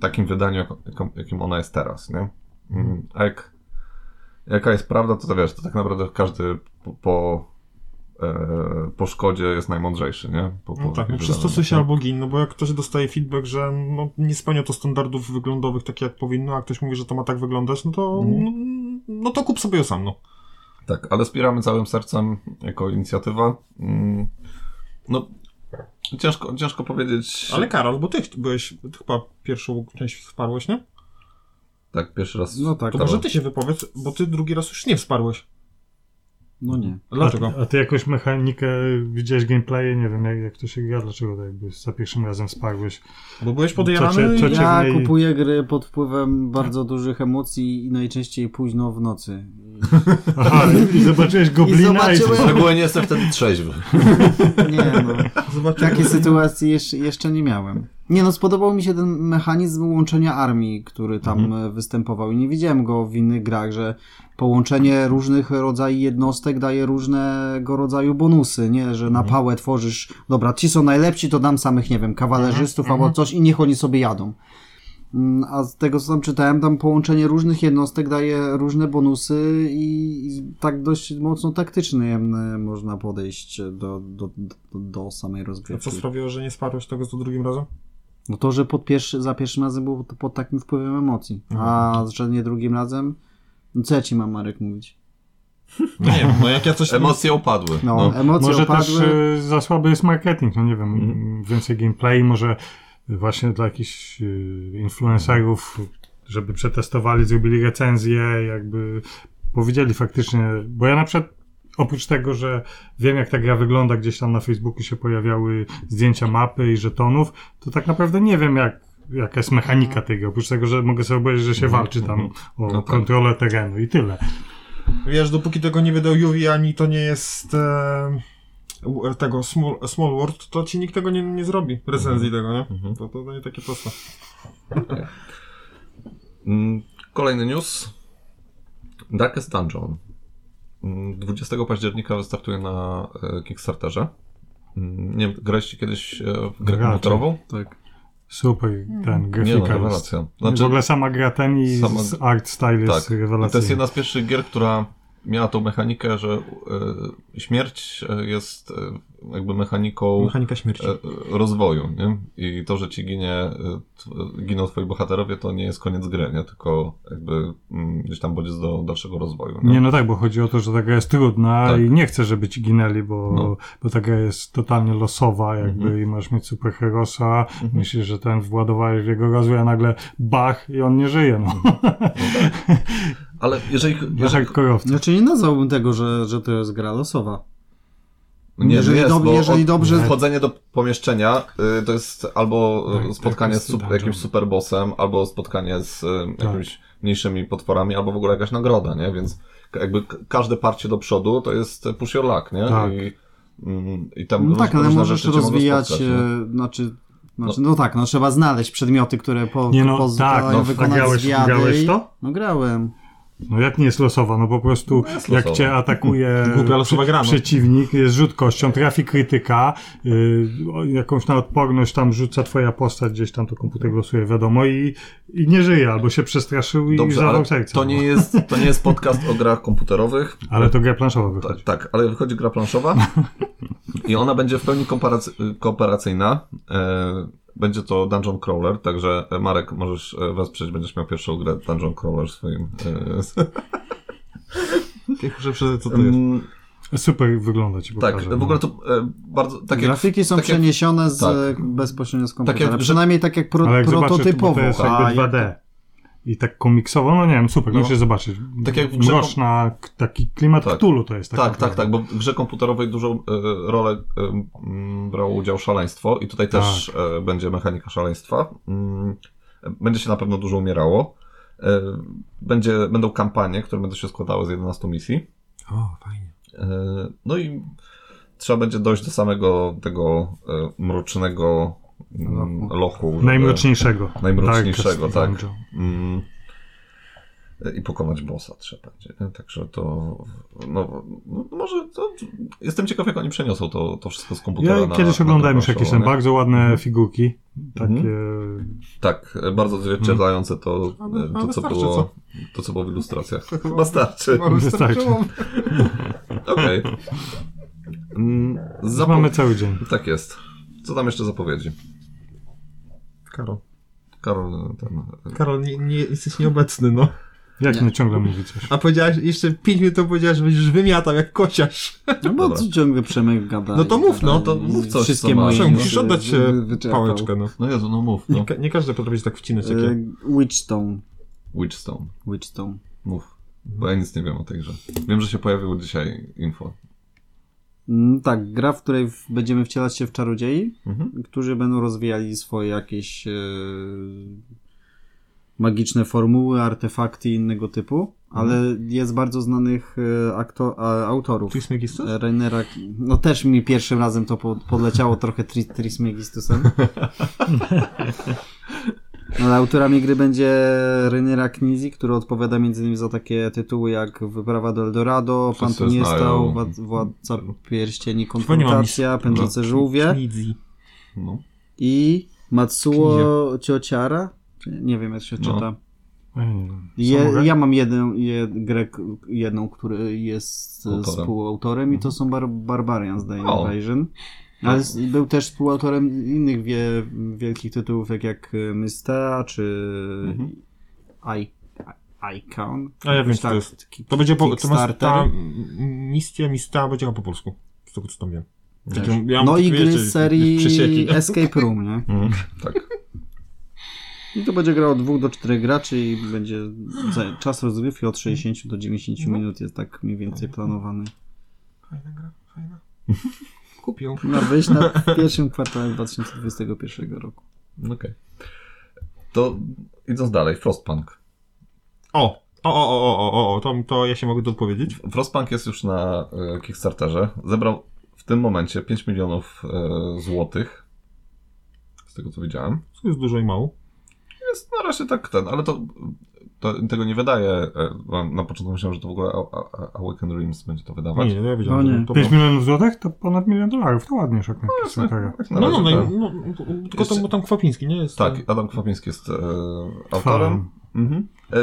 takim wydaniu, jak- jaką- jakim ona jest teraz, nie? Mm, A jak, jaka jest prawda, to, to wiesz, to tak naprawdę każdy po, po, e, po szkodzie jest najmądrzejszy, nie? Po, po No tak, no jakimś przystosuj się wydaniu, albo gin, no bo jak ktoś dostaje feedback, że no, nie spełnia to standardów wyglądowych tak jak powinno, a ktoś mówi, że to ma tak wyglądać, no to, no, no to kup sobie ją sam, no. Tak, ale wspieramy całym sercem jako inicjatywa. Mm, No, ciężko, ciężko powiedzieć. Ale Karol, bo ty ch- byłeś, ty chyba pierwszą część wsparłeś, nie? Tak, pierwszy raz. No tak. To może ty się wypowiedz, bo ty drugi raz już nie wsparłeś. No nie. Dlaczego? A, a ty jakąś mechanikę widziałeś gameplaye? Nie wiem, jak, jak to się gra, dlaczego tak jakby za pierwszym razem sparłeś. Bo byłeś podejrzany To cię- i... cię Ja w niej- kupuję gry pod wpływem bardzo dużych emocji i najczęściej późno w nocy. Aha, i zobaczyłeś goblina i, zobaczyłem- Szczególnie nie jestem wtedy trzeźwy. Nie (laughs) no. Takiej sytuacji jeszcze, jeszcze nie miałem. Nie no, spodobał mi się ten mechanizm łączenia armii, który tam e, występował i nie widziałem go w innych grach, że połączenie różnych rodzajów jednostek daje różnego rodzaju bonusy, nie? Że na pałę tworzysz, dobra, ci są najlepsi, to dam samych, nie wiem, kawalerzystów albo coś i niech oni sobie jadą. Mm, A z tego, co tam czytałem, tam połączenie różnych jednostek daje różne bonusy i, i tak dość mocno taktycznie m, można podejść do, do, do, do samej A co rozgrywki. sprawiło, że nie wsparłeś tego za drugim razem? No to, że pod pierwszy, za pierwszym razem było to pod takim wpływem emocji, Mhm. a że nie drugim razem... No co ja ci mam, Marek, mówić? No nie wiem, no jak ja coś... Emocje opadły. No, No. emocje Może opadły... też e, za słaby jest marketing, no nie wiem, m, więcej gameplay, może właśnie dla jakichś e, influencerów, żeby przetestowali, zrobili recenzję, jakby powiedzieli faktycznie, bo ja na przykład oprócz tego, że wiem jak ta gra wygląda, gdzieś tam na Facebooku się pojawiały zdjęcia mapy i żetonów, to tak naprawdę nie wiem jak jaka jest mechanika tego, oprócz tego, że mogę sobie powiedzieć, że się walczy tam o Mhm. No tak. kontrolę terenu i tyle. Wiesz, dopóki tego nie wydał Yuri, ani to nie jest e, w- tego small, small World, to ci nikt tego nie, nie zrobi, recenzji tego, nie? To, to nie takie proste. Mm, Kolejny news. Darkest Dungeon. Mm, 20 października wystartuje na e, Kickstarterze. Mm, Nie wiem, graliście kiedyś e, w grę Grałem. komputerową? Tak. Super ten Nie, no, grafika jest. rewelacja. w ogóle sama gra ten i Sama- z art style jest Tak. I To rewelacyjny. jest jedna z pierwszych gier, która miała tą mechanikę, że e, śmierć e, jest e, jakby mechaniką Mechanika śmierci. e, rozwoju, nie? I to, że ci ginie, e, tw- giną twoi bohaterowie, to nie jest koniec gry, nie? Tylko jakby mm, gdzieś tam bodziec do dalszego rozwoju. Nie, no tak, bo chodzi o to, że ta gra jest trudna Tak. i nie chcę, żeby ci ginęli, bo, No. Mhm. bo ta gra jest totalnie losowa jakby i masz mieć super herosa, myślisz, że ten władowałeś w jego rozwój, a nagle bach i on nie żyje, no. Mhm. (laughs) Ale jeżeli... Dla hardkorowców. Znaczy nie nazwałbym tego, że, że to jest gra losowa. No Nie, Jeżeli jest, dob- bo jeżeli dobrze- Wchodzenie do pomieszczenia y, to jest albo y, Tak, spotkanie tak, z sup- dungeon. Tak. jakimś superbossem, albo spotkanie z y, jakimiś mniejszymi potworami, albo w ogóle jakaś nagroda, nie? Więc k- jakby k- każde parcie do przodu to jest y, push your luck, nie? Tak. I, mm, I tam No róż- tak, ale różne możesz rzeczy cię mogą rozwijać, spotkać, nie? e, znaczy, znaczy no. tak, no trzeba znaleźć przedmioty, które po, Nie no, pozwalają tak, no, a wykonać grałeś- zwiady. grałeś i- to? No grałem. No jak nie jest losowa, no po prostu jest jak losowa. cię atakuje (laughs) Głupia losowa gra, no. przeciwnik, jest rzut kością, trafi krytyka, y, o- jakąś na odporność tam rzuca twoja postać, gdzieś tam to komputer losuje, wiadomo, i, i nie żyje, albo się przestraszył i Dobrze, ale zawał serce. to nie, jest, to nie jest podcast o grach komputerowych, Ale to gra planszowa wychodzi. Tak, tak, ale wychodzi gra planszowa i ona będzie w pełni komparac- kooperacyjna. E, Będzie to Dungeon Crawler, także e, Marek możesz e, wesprzeć, będziesz miał pierwszą grę Dungeon Crawler w swoim. e, s- Ty muszę przyznać, co to jest. Mm, Super wygląda ci tak, pokażę, w no. ogóle to e, bardzo tak jak, Grafiki są tak jak- przeniesione z, e, tak. bezpośrednio z jak- komputera, że- przynajmniej tak jak pro, Ale jak zobaczysz, to- prototypowo. to jest A jakby jak- 2D. i tak komiksowo, no nie wiem, super, No. musisz zobaczyć. Tak jak w grze- Mroczna, k- taki klimat Tak. Cthulhu to jest. Tak, tak, naprawdę. tak, bo w grze komputerowej dużą e, rolę e, m, brało udział szaleństwo i tutaj też Tak. e, będzie mechanika szaleństwa. Mm, Będzie się na pewno dużo umierało. E, Będzie, będą kampanie, które będą się składały z 11 misji. O, fajnie. E, No i trzeba będzie dojść do samego tego e, mrocznego mm, lochu. żeby- Najmroczniejszego. Najmroczniejszego, Darkest tak. Dungeon. Mm. I pokonać bossa trzeba będzie. nie? Także to. No, no może to. Jestem ciekaw, jak oni przeniosą to, to wszystko z komputera. Ja na, kiedyś na Mhm. oglądałem już taką jakieś szalę, tam nie? bardzo ładne figurki, takie Tak, bardzo odzwierciedlające to, e, Ale- ale to, co starczy, było, co? to, co było w (laughs) ilustracjach. Chyba starczy. wystarczyło. Okej. Mm, zapo- Mamy cały dzień. Tak jest. Co tam jeszcze zapowiedzi? Karol. Karol, ten. Karol, nie, nie, jesteś nieobecny, no. Jak Nie. nie ciągle mówi coś. A powiedziałeś, jeszcze pięć minut temu powiedziałeś, że będziesz wymiatał jak kociarz. No bo Dobra. ciągle Przemek gada. No to i mów, gada no, to i mów coś, Wszystkie co masz. moje Proszę, musisz newsy oddać wy- e, wyczerpał. pałeczkę, no. No Jezu, no mów. No. Nie, ka- nie każdy potrafi tak wcinać takie. E, Witchstone. Witchstone. Witchstone. Mów. Bo ja nic nie wiem o tej grze. Wiem, że się pojawiło dzisiaj info. Mm, Tak, gra, w której w- będziemy wcielać się w czarodziei, Mhm. którzy będą rozwijali swoje jakieś e, magiczne formuły, artefakty i innego typu, ale jest bardzo znanych e, akto- a, autorów. Trismegistus? Rainera, no też mi pierwszym razem to po, podleciało trochę tri, Trismegistusem. No, Ale autorami gry będzie Rainera Knizi, który odpowiada m.in. za takie tytuły jak Wyprawa do Eldorado, Pan Wszyscy tu nie stał, znają. Wad- Władca Pierścieni, Przypomniała mi Konfrontacja, Pędzące Żółwie Midzi. No. i Matsuo Ciociara. Nie wiem, jak się No. czyta. Ja nie wiem. Je, Samurai? ja mam jedną je, grę, k- jedną, który jest e, Autorem. współautorem Mhm. i to są bar, Barbarians The O. Invasion. Ale s- był też współautorem innych wie, wielkich tytułów, jak, jak e, Mystea czy Mhm. I, I, Icon. tak, A ja wiem, co to jest. To będzie po, to ma, Kickstarter. ta mm, mistia, mista będzie chyba po polsku. Z tego co tam wiem. Też. Takie- ja mam no i takie, gry wiecie, z serii przesieki, (laughs) nie? (laughs) Escape Room, nie? Tak. (laughs) I to będzie gra od 2 do 4 graczy i będzie za- czas rozgrywki od 60 do 90 minut jest tak mniej Mhm. więcej planowany. Fajna gra, fajna. Kupię. Ma wyjść No, na w pierwszym kwartale 2021 roku. Okej. To idąc dalej, Frostpunk. O! O, o, o, o, o, o, to, to ja się mogę dopowiedzieć. Frostpunk jest już na e, Kickstarterze. Zebrał w tym momencie 5 milionów e, złotych. Z tego co widziałem. To jest dużo i mało. Jest na razie tak ten, ale to, to tego nie wydaje. E, na- na początku myślałem, że to w ogóle A- A- A- Awaken Dreams będzie to Nie, wydawać. nie, ja wiedziałem, No że nie. to 5 milionów złotych to ponad milion dolarów, to ładnie jak na Kickstartera. Tak na No, no, razie no, tak. no, no tylko Jeszcze- tam, tam Kwapiński, nie? Jest Tak, Adam Kwapiński jest e, autorem. Mhm. E,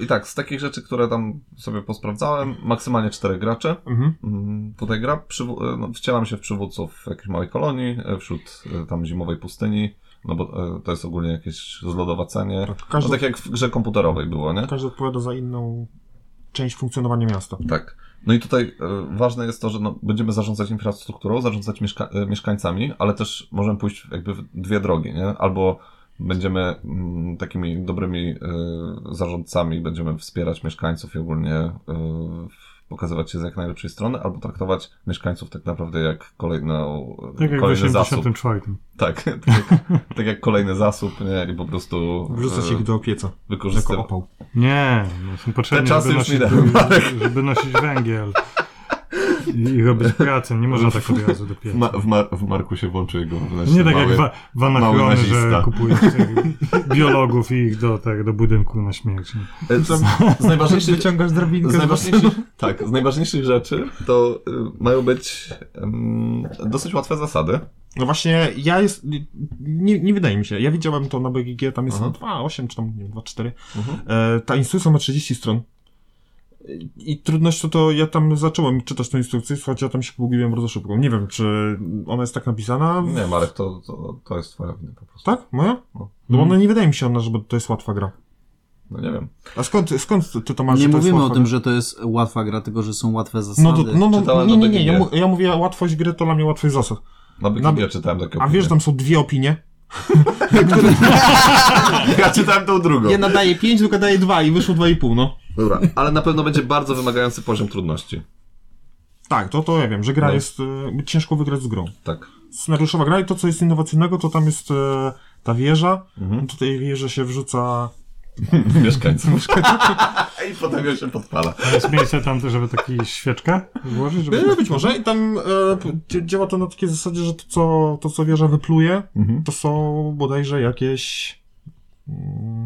I tak, z takich rzeczy, które tam sobie posprawdzałem, maksymalnie czterech graczy. Mhm. Mm, Tutaj gra, przywo- e, no, wcielam się w przywódców jakiejś małej kolonii, e, wśród e, tam zimowej pustyni, no bo e, to jest ogólnie jakieś zlodowacenie. Tak, No, każdy, Tak, tak jak w grze komputerowej było, nie? każdy odpowiada za inną część funkcjonowania miasta. Tak. No i tutaj e, ważne jest to, że no, będziemy zarządzać infrastrukturą, zarządzać mieszka e, mieszkańcami, ale też możemy pójść jakby w dwie drogi, nie? Albo będziemy mm, takimi dobrymi e, zarządcami, będziemy wspierać mieszkańców i ogólnie e, pokazywać się z jak najlepszej strony, albo traktować mieszkańców tak naprawdę jak kolejną, Tak jak w kolejny zasób. 84. (laughs) Tak, tak, jak, tak jak kolejny zasób, nie? I po prostu e, Wrzucasz ich do pieca, jako wykorzystywać. opał. Nie, no są potrzebne, czasy żeby już nosić, minęły, Marek. żeby nosić węgiel i, i robić pracę, nie można tak od razu do W, pieca. ma w, mar w Marku się włączył jego wewnętrzny Nie tak jak mały- wa- w mały Anachrony, nazista. że kupujesz tych biologów i ich do, tak, do budynku na śmierć. E, Z, z najważniejszych Wyciągasz drabinkę. Z najważniejszych, tak, z najważniejszych rzeczy to y, mają być em, dosyć łatwe zasady. No właśnie, ja jest. Nie, nie wydaje mi się. Ja widziałem to na BGG, tam jest Aha. 2,8 czy tam nie wiem, 2,4. Mhm. E, ta instrukcja ma 30 stron. E, I trudność to, to ja tam zacząłem czytać tą instrukcję, słuchajcie, ja tam się pogubiłem bardzo szybko. Nie wiem, czy ona jest tak napisana. w- Nie, Marek, to, to, to jest twoja wina po prostu. Tak? Moja? No. No bo no, nie wydaje mi się ona, żeby to jest łatwa gra. No nie wiem. A skąd, skąd ty to masz? nie że to jest mówimy o łatwa tym, gra? że to jest łatwa gra, tylko że są łatwe zasady. No, to, no, no Czytałem nie, na nie, nie, ja, BGG. mu- ja mówię łatwość gry, to dla mnie łatwość zasad. Na Bikinie Na- czytałem takie A opinie. wiesz, tam są dwie opinie. (laughs) Ja czytałem tą drugą. no- Jedna daje 5, druga daje 2 i wyszło 2,5, no. Dobra, ale na pewno będzie bardzo wymagający poziom trudności. Tak, to, to ja wiem, że gra No. jest... E, ciężko wygrać z grą. Tak. Scenariuszowa gra i to, co jest innowacyjnego, to tam jest e, ta wieża. Mhm. Do tej wieży się wrzuca... (laughs) Mieszkańców. (laughs) I potem ją się podpala. A jest miejsce tam, żeby taki świeczkę włożyć, żeby... E, być może. I tam e, p- dzie- działa to na takiej zasadzie, że to, co, to, co wieża wypluje, Mhm. to są bodajże jakieś...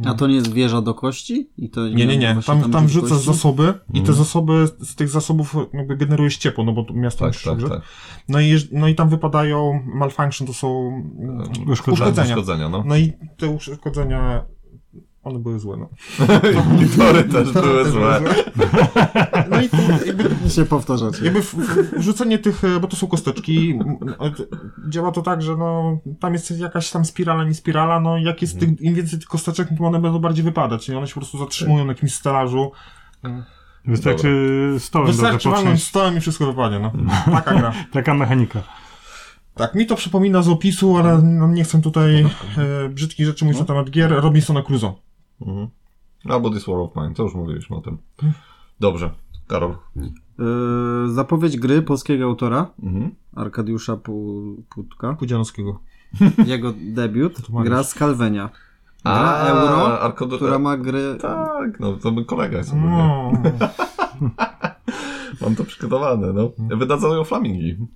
A to nie jest wieża do kości? I to Nie, nie, nie. właśnie No, Tam, tam jakieś wrzucasz kości? zasoby i Mhm. te zasoby, z tych zasobów jakby generujesz ciepło, no bo to miasto Tak, musi tak, grzać. tak. No, i, jeż- no i tam wypadają malfunction, to są mm, uszkodzenia. uszkodzenia. E, Uszkodzenia, no. No i te uszkodzenia, one były złe, no. (laughs) Tory też były złe. No i to jakby, (laughs) się powtarzacie. jakby w- w- wrzucenie tych, e, bo to są kosteczki, m, e, t- działa to tak, że no, tam jest jakaś tam spirala, nie spirala, no jak jest tych, im więcej tych kosteczek, no to one będą bardziej wypadać i one się po prostu zatrzymują na jakimś stelażu. Wystarczy stołem dobrze Wystarczy walnąć począć. stołem i wszystko wypadnie, no. Taka gra. Taka mechanika. Tak, mi to przypomina z opisu, ale no, nie chcę tutaj e, brzydkich rzeczy mówić na temat gier. Robinsona Crusoe. Mhm. Albo This War of Mine, to już mówiliśmy o tym. Dobrze, Karol. Yy, zapowiedź gry polskiego autora, Mhm. Arkadiusza Pu- Putka. Kudzianowskiego. Jego debiut, Mariusz. gra z Kalwenia. Gra euro, Arkod... która ma gry... Tak, no to mój kolega jest. ogólnie. No, Mam to przygotowane, no. Mm. Wydadzą ją flamingi. No,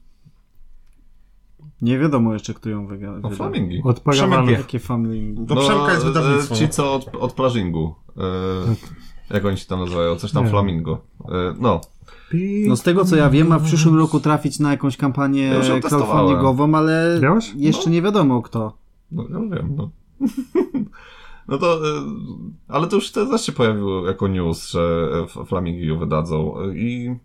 Nie wiadomo jeszcze, kto ją wygra. No, wyda. flamingi. Od Przemek parawanów. wie. Jakie family... to Przemka jest e, wydawnictwo. Ci, co od, od plażingu. (laughs) E, jak oni się tam nazywają? Coś tam Nie. flamingo. E, no. No z tego co ja wiem, ma w przyszłym roku trafić na jakąś kampanię Ja już ją testowałem. crowdfundingową, ale Miałeś? jeszcze nie wiadomo kto. No, ja wiem, no. (laughs) No to, e, ale to już te też się pojawiło jako news, że e, f- Flamingi ją wydadzą e, i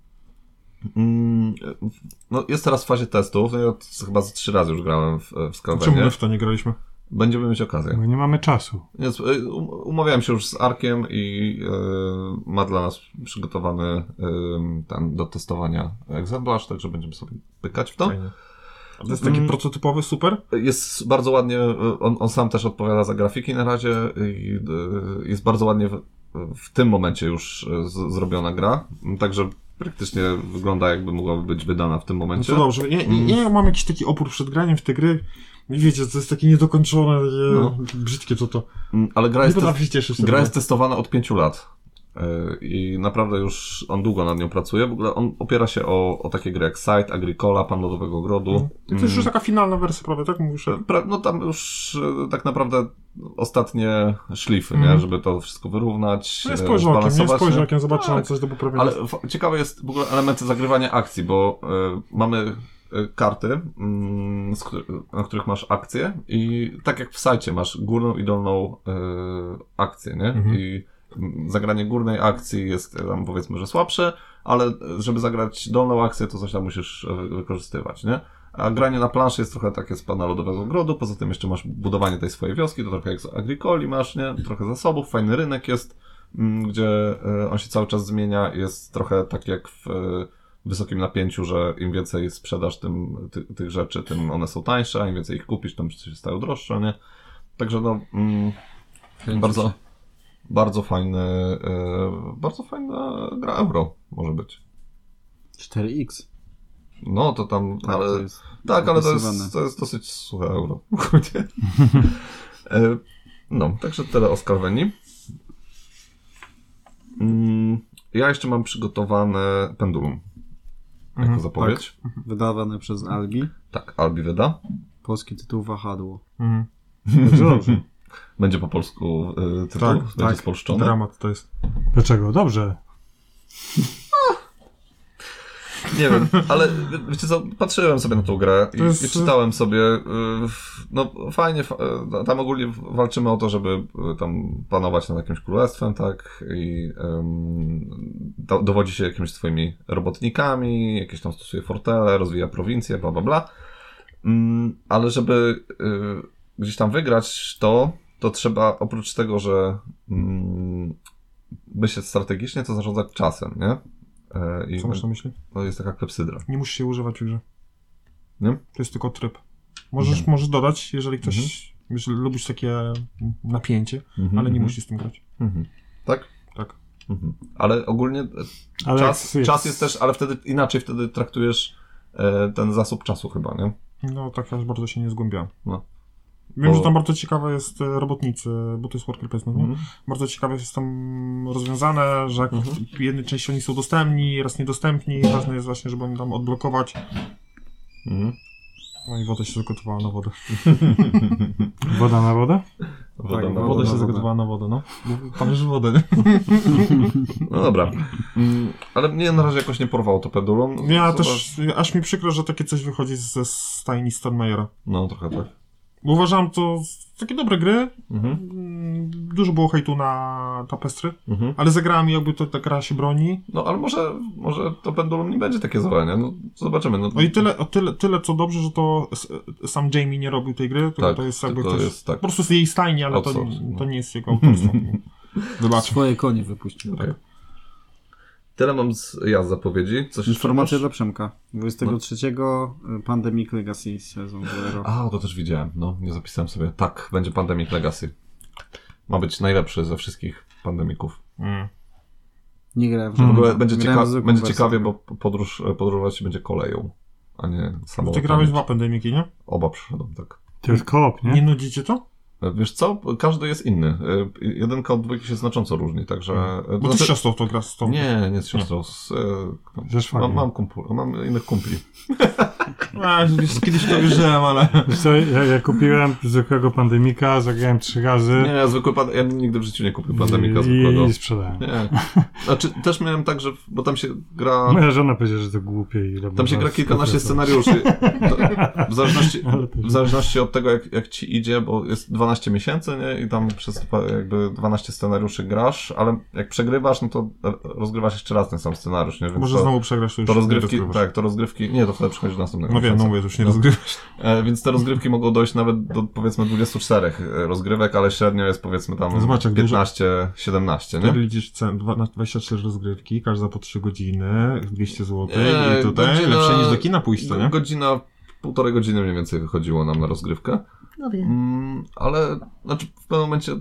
mm, e, no, jest teraz w fazie testów, no ja t- chyba z trzy razy już grałem w, w Czemu my Skalwenie. w to nie graliśmy? Będziemy mieć okazję. Bo nie mamy czasu. Więc e, um- umawiałem się już z Arkiem i e, ma dla nas przygotowany e, ten do testowania egzemplarz, także będziemy sobie pykać w to. Fajnie. A To jest taki Mm. prototypowy super? Jest bardzo ładnie, y, on, on sam też odpowiada za grafiki na razie i y, jest bardzo ładnie w, w tym momencie już y, z, zrobiona gra, także praktycznie wygląda jakby mogłaby być wydana w tym No momencie. to dobrze. Ja, ja, ja mam jakiś taki opór przed graniem w te gry. I wiecie, to jest takie niedokończone, takie No. brzydkie to to. Mm, Ale gra Nie jest, te, potrafię się cieszyć. gra jest testowana od pięciu lat y, i naprawdę już on długo nad nią pracuje. W ogóle on opiera się o, o takie gry jak Site, Agricola, Pan Lodowego Grodu. Mhm. no. To jest już taka finalna wersja prawie, tak mówisz? Pra, no tam już e, tak naprawdę ostatnie szlify, nie? Mhm. żeby to wszystko wyrównać. No jest e, spojrzakiem, nie zbalansować, jest spojrzakiem, zobaczymy Tak. coś do poprawienia. Ale f- ciekawe jest w ogóle element zagrywania akcji, bo e, mamy e, karty, mm, z, któ- na których masz akcje i tak jak w sajcie masz górną i dolną e, akcję, nie? Mhm. I mm, zagranie górnej akcji jest e, tam powiedzmy, że słabsze, ale e, żeby zagrać dolną akcję, to coś tam musisz e, wykorzystywać, nie? A granie na planszy jest trochę takie z pana lodowego grodu, poza tym jeszcze masz budowanie tej swojej wioski, to trochę jak z Agricoli masz, nie? Trochę zasobów, fajny rynek jest, mm, gdzie e, on się cały czas zmienia, jest trochę tak jak w e, wysokim napięciu, że im więcej sprzedasz tym, ty, tych rzeczy, tym one są tańsze, a im więcej ich kupisz, tym się stają droższe, nie? Także no, mm, bardzo, bardzo fajny, e, bardzo fajna gra euro może być. 4X. No to tam, Tak, ale... to jest. Tak, ale to Opisywane. jest, to jest dosyć suche euro. (laughs) Ogólnie. E, no, także tyle o Skarweni. Mm, Ja jeszcze mam przygotowane pendulum. Mhm, tak. Jako zapowiedź. Wydawane przez Albi. Tak, Albi wyda. Polski tytuł Wahadło. Mhm. Także dobrze. Będzie po polsku y, tytuł, Tak, będzie tak. spolszczony. Dramat to jest. Dlaczego? Dobrze. Nie wiem, ale wiecie co, patrzyłem sobie na tą grę i, To jest- i czytałem sobie, y, w- no fajnie, fa- y, tam ogólnie walczymy o to, żeby y, tam panować nad jakimś królestwem, tak, i ym, do, dowodzi się jakimiś swoimi robotnikami, jakieś tam stosuje fortele, rozwija prowincję, bla, bla, bla, Mm, ale żeby y, gdzieś tam wygrać to, to trzeba oprócz tego, że mm, myśleć strategicznie, to zarządzać czasem, nie? E, I Co masz na myśli? to jest taka klepsydra. Nie musisz się używać w grze. Nie? Mhm. To jest tylko tryb. Możesz, możesz dodać, jeżeli ktoś Wiesz, lubisz takie napięcie, ale nie musisz z tym grać. Mhm. Tak? Tak. Mhm. Ale ogólnie e, Ale czas, czas jest też, ale wtedy inaczej wtedy traktujesz e, ten zasób czasu chyba, nie? No tak, ja aż bardzo się nie zgłębiałem. No. Wiem, Bo- że tam bardzo ciekawe jest e, robotnicy, bo to jest worker placement, nie? Mhm. Bardzo ciekawe jest tam rozwiązane, że jak w jednej części oni są dostępni, raz niedostępni, ważne jest właśnie, żeby oni tam odblokować. Mhm. No i woda się zagotowała na wodę. Woda na wodę? Woda Tak, na Woda, wodę. się wodę. zagotowała na wodę, no. Patrz wodę, nie? No dobra. Mm, ale mnie na razie jakoś nie porwało to pendulum. Ja Zobacz. też, aż mi przykro, że takie coś wychodzi ze stajni Steinmeiera. No trochę tak. Bo uważam to z- takie dobre gry. Mhm. Mm, Dużo było hejtu na tapestry, Mhm. ale zagrałem i jakby to, ta gra się broni. No ale może, może to pendulum nie będzie takie złe, nie? No zobaczymy. No, No i tyle, o tyle, tyle co dobrze, że to s- sam Jamie nie robił tej gry, tylko Tak, to jest jakby tylko ktoś, jest tak. po prostu z jej stajni, ale to, Outsource, no. to nie jest (laughs) jego autorstwo. Zobaczmy. Swoje konie wypuścił. Okej. Tyle mam z ja z zapowiedzi. Coś jeszcze Informacja masz? dla Przemka. 23 y, Pandemic Legacy Season Zero. A, to też widziałem. No, nie zapisałem sobie. Tak, będzie Pandemic Legacy. Ma być najlepszy ze wszystkich pandemików. Mm. Nie grałem w W żadnym. ogóle będzie, Mhm. Grałem cieka- w zwykłą będzie wersję. ciekawie, bo podróż, e, podróżować się będzie koleją, a nie Bo samolotem. Ty grałeś dwa pandemiki, nie? Oba przyszedłem, tak. E, To jest koop, nie? Nie nudzicie to? Wiesz co? Każdy jest inny. Y, Jedynka od dwójki się znacząco różni, także... to Mhm. Bo ty z znaczy- siostrą to grasz z tą. Nie, nie z siostrą. Z, e, Ze szwagrem. mam, mam, kumpul, mam innych kumpli. A, wiesz, kiedyś to wierzyłem, ale... Wiesz co, ja, ja kupiłem zwykłego pandemika, zagrałem trzy razy Nie, ja zwykły pan, ja nigdy w życiu nie kupię pandemika zwykłego. i, i sprzedałem. Nie. Znaczy, też miałem tak, że... Bo tam się gra... Moja żona powiedziała, że to głupie i robię Tam No, się zaraz gra kilkanaście sklepy, to- scenariuszy. (laughs) To, w, zależności, Ale to- w zależności od tego, jak, jak ci idzie, bo jest 12 miesięcy nie? i tam przez pa- jakby 12 scenariuszy grasz, ale jak przegrywasz, no to r- rozgrywasz jeszcze raz ten sam scenariusz. Nie? Więc Może to, znowu przegrasz, to już to nie rozgrywki, rozgrywasz. tak, to rozgrywki, nie, to wtedy przychodzi do następnego No wiem, no miesiąca. mówię, to już nie rozgrywasz. E, więc te rozgrywki mogą dojść nawet do powiedzmy 24 rozgrywek, ale średnio jest powiedzmy tam No Zobacz, jak dużo- 15-17, Wtedy nie? liczysz cen, dwa- na 24 rozgrywki, każda po 3 godziny, 200 zł Eee, i tutaj godzina- lepsze niż do kina pójść, to nie? Godzina, półtorej godziny mniej więcej wychodziło nam na rozgrywkę. No wiem. Mm, ale znaczy w pewnym momencie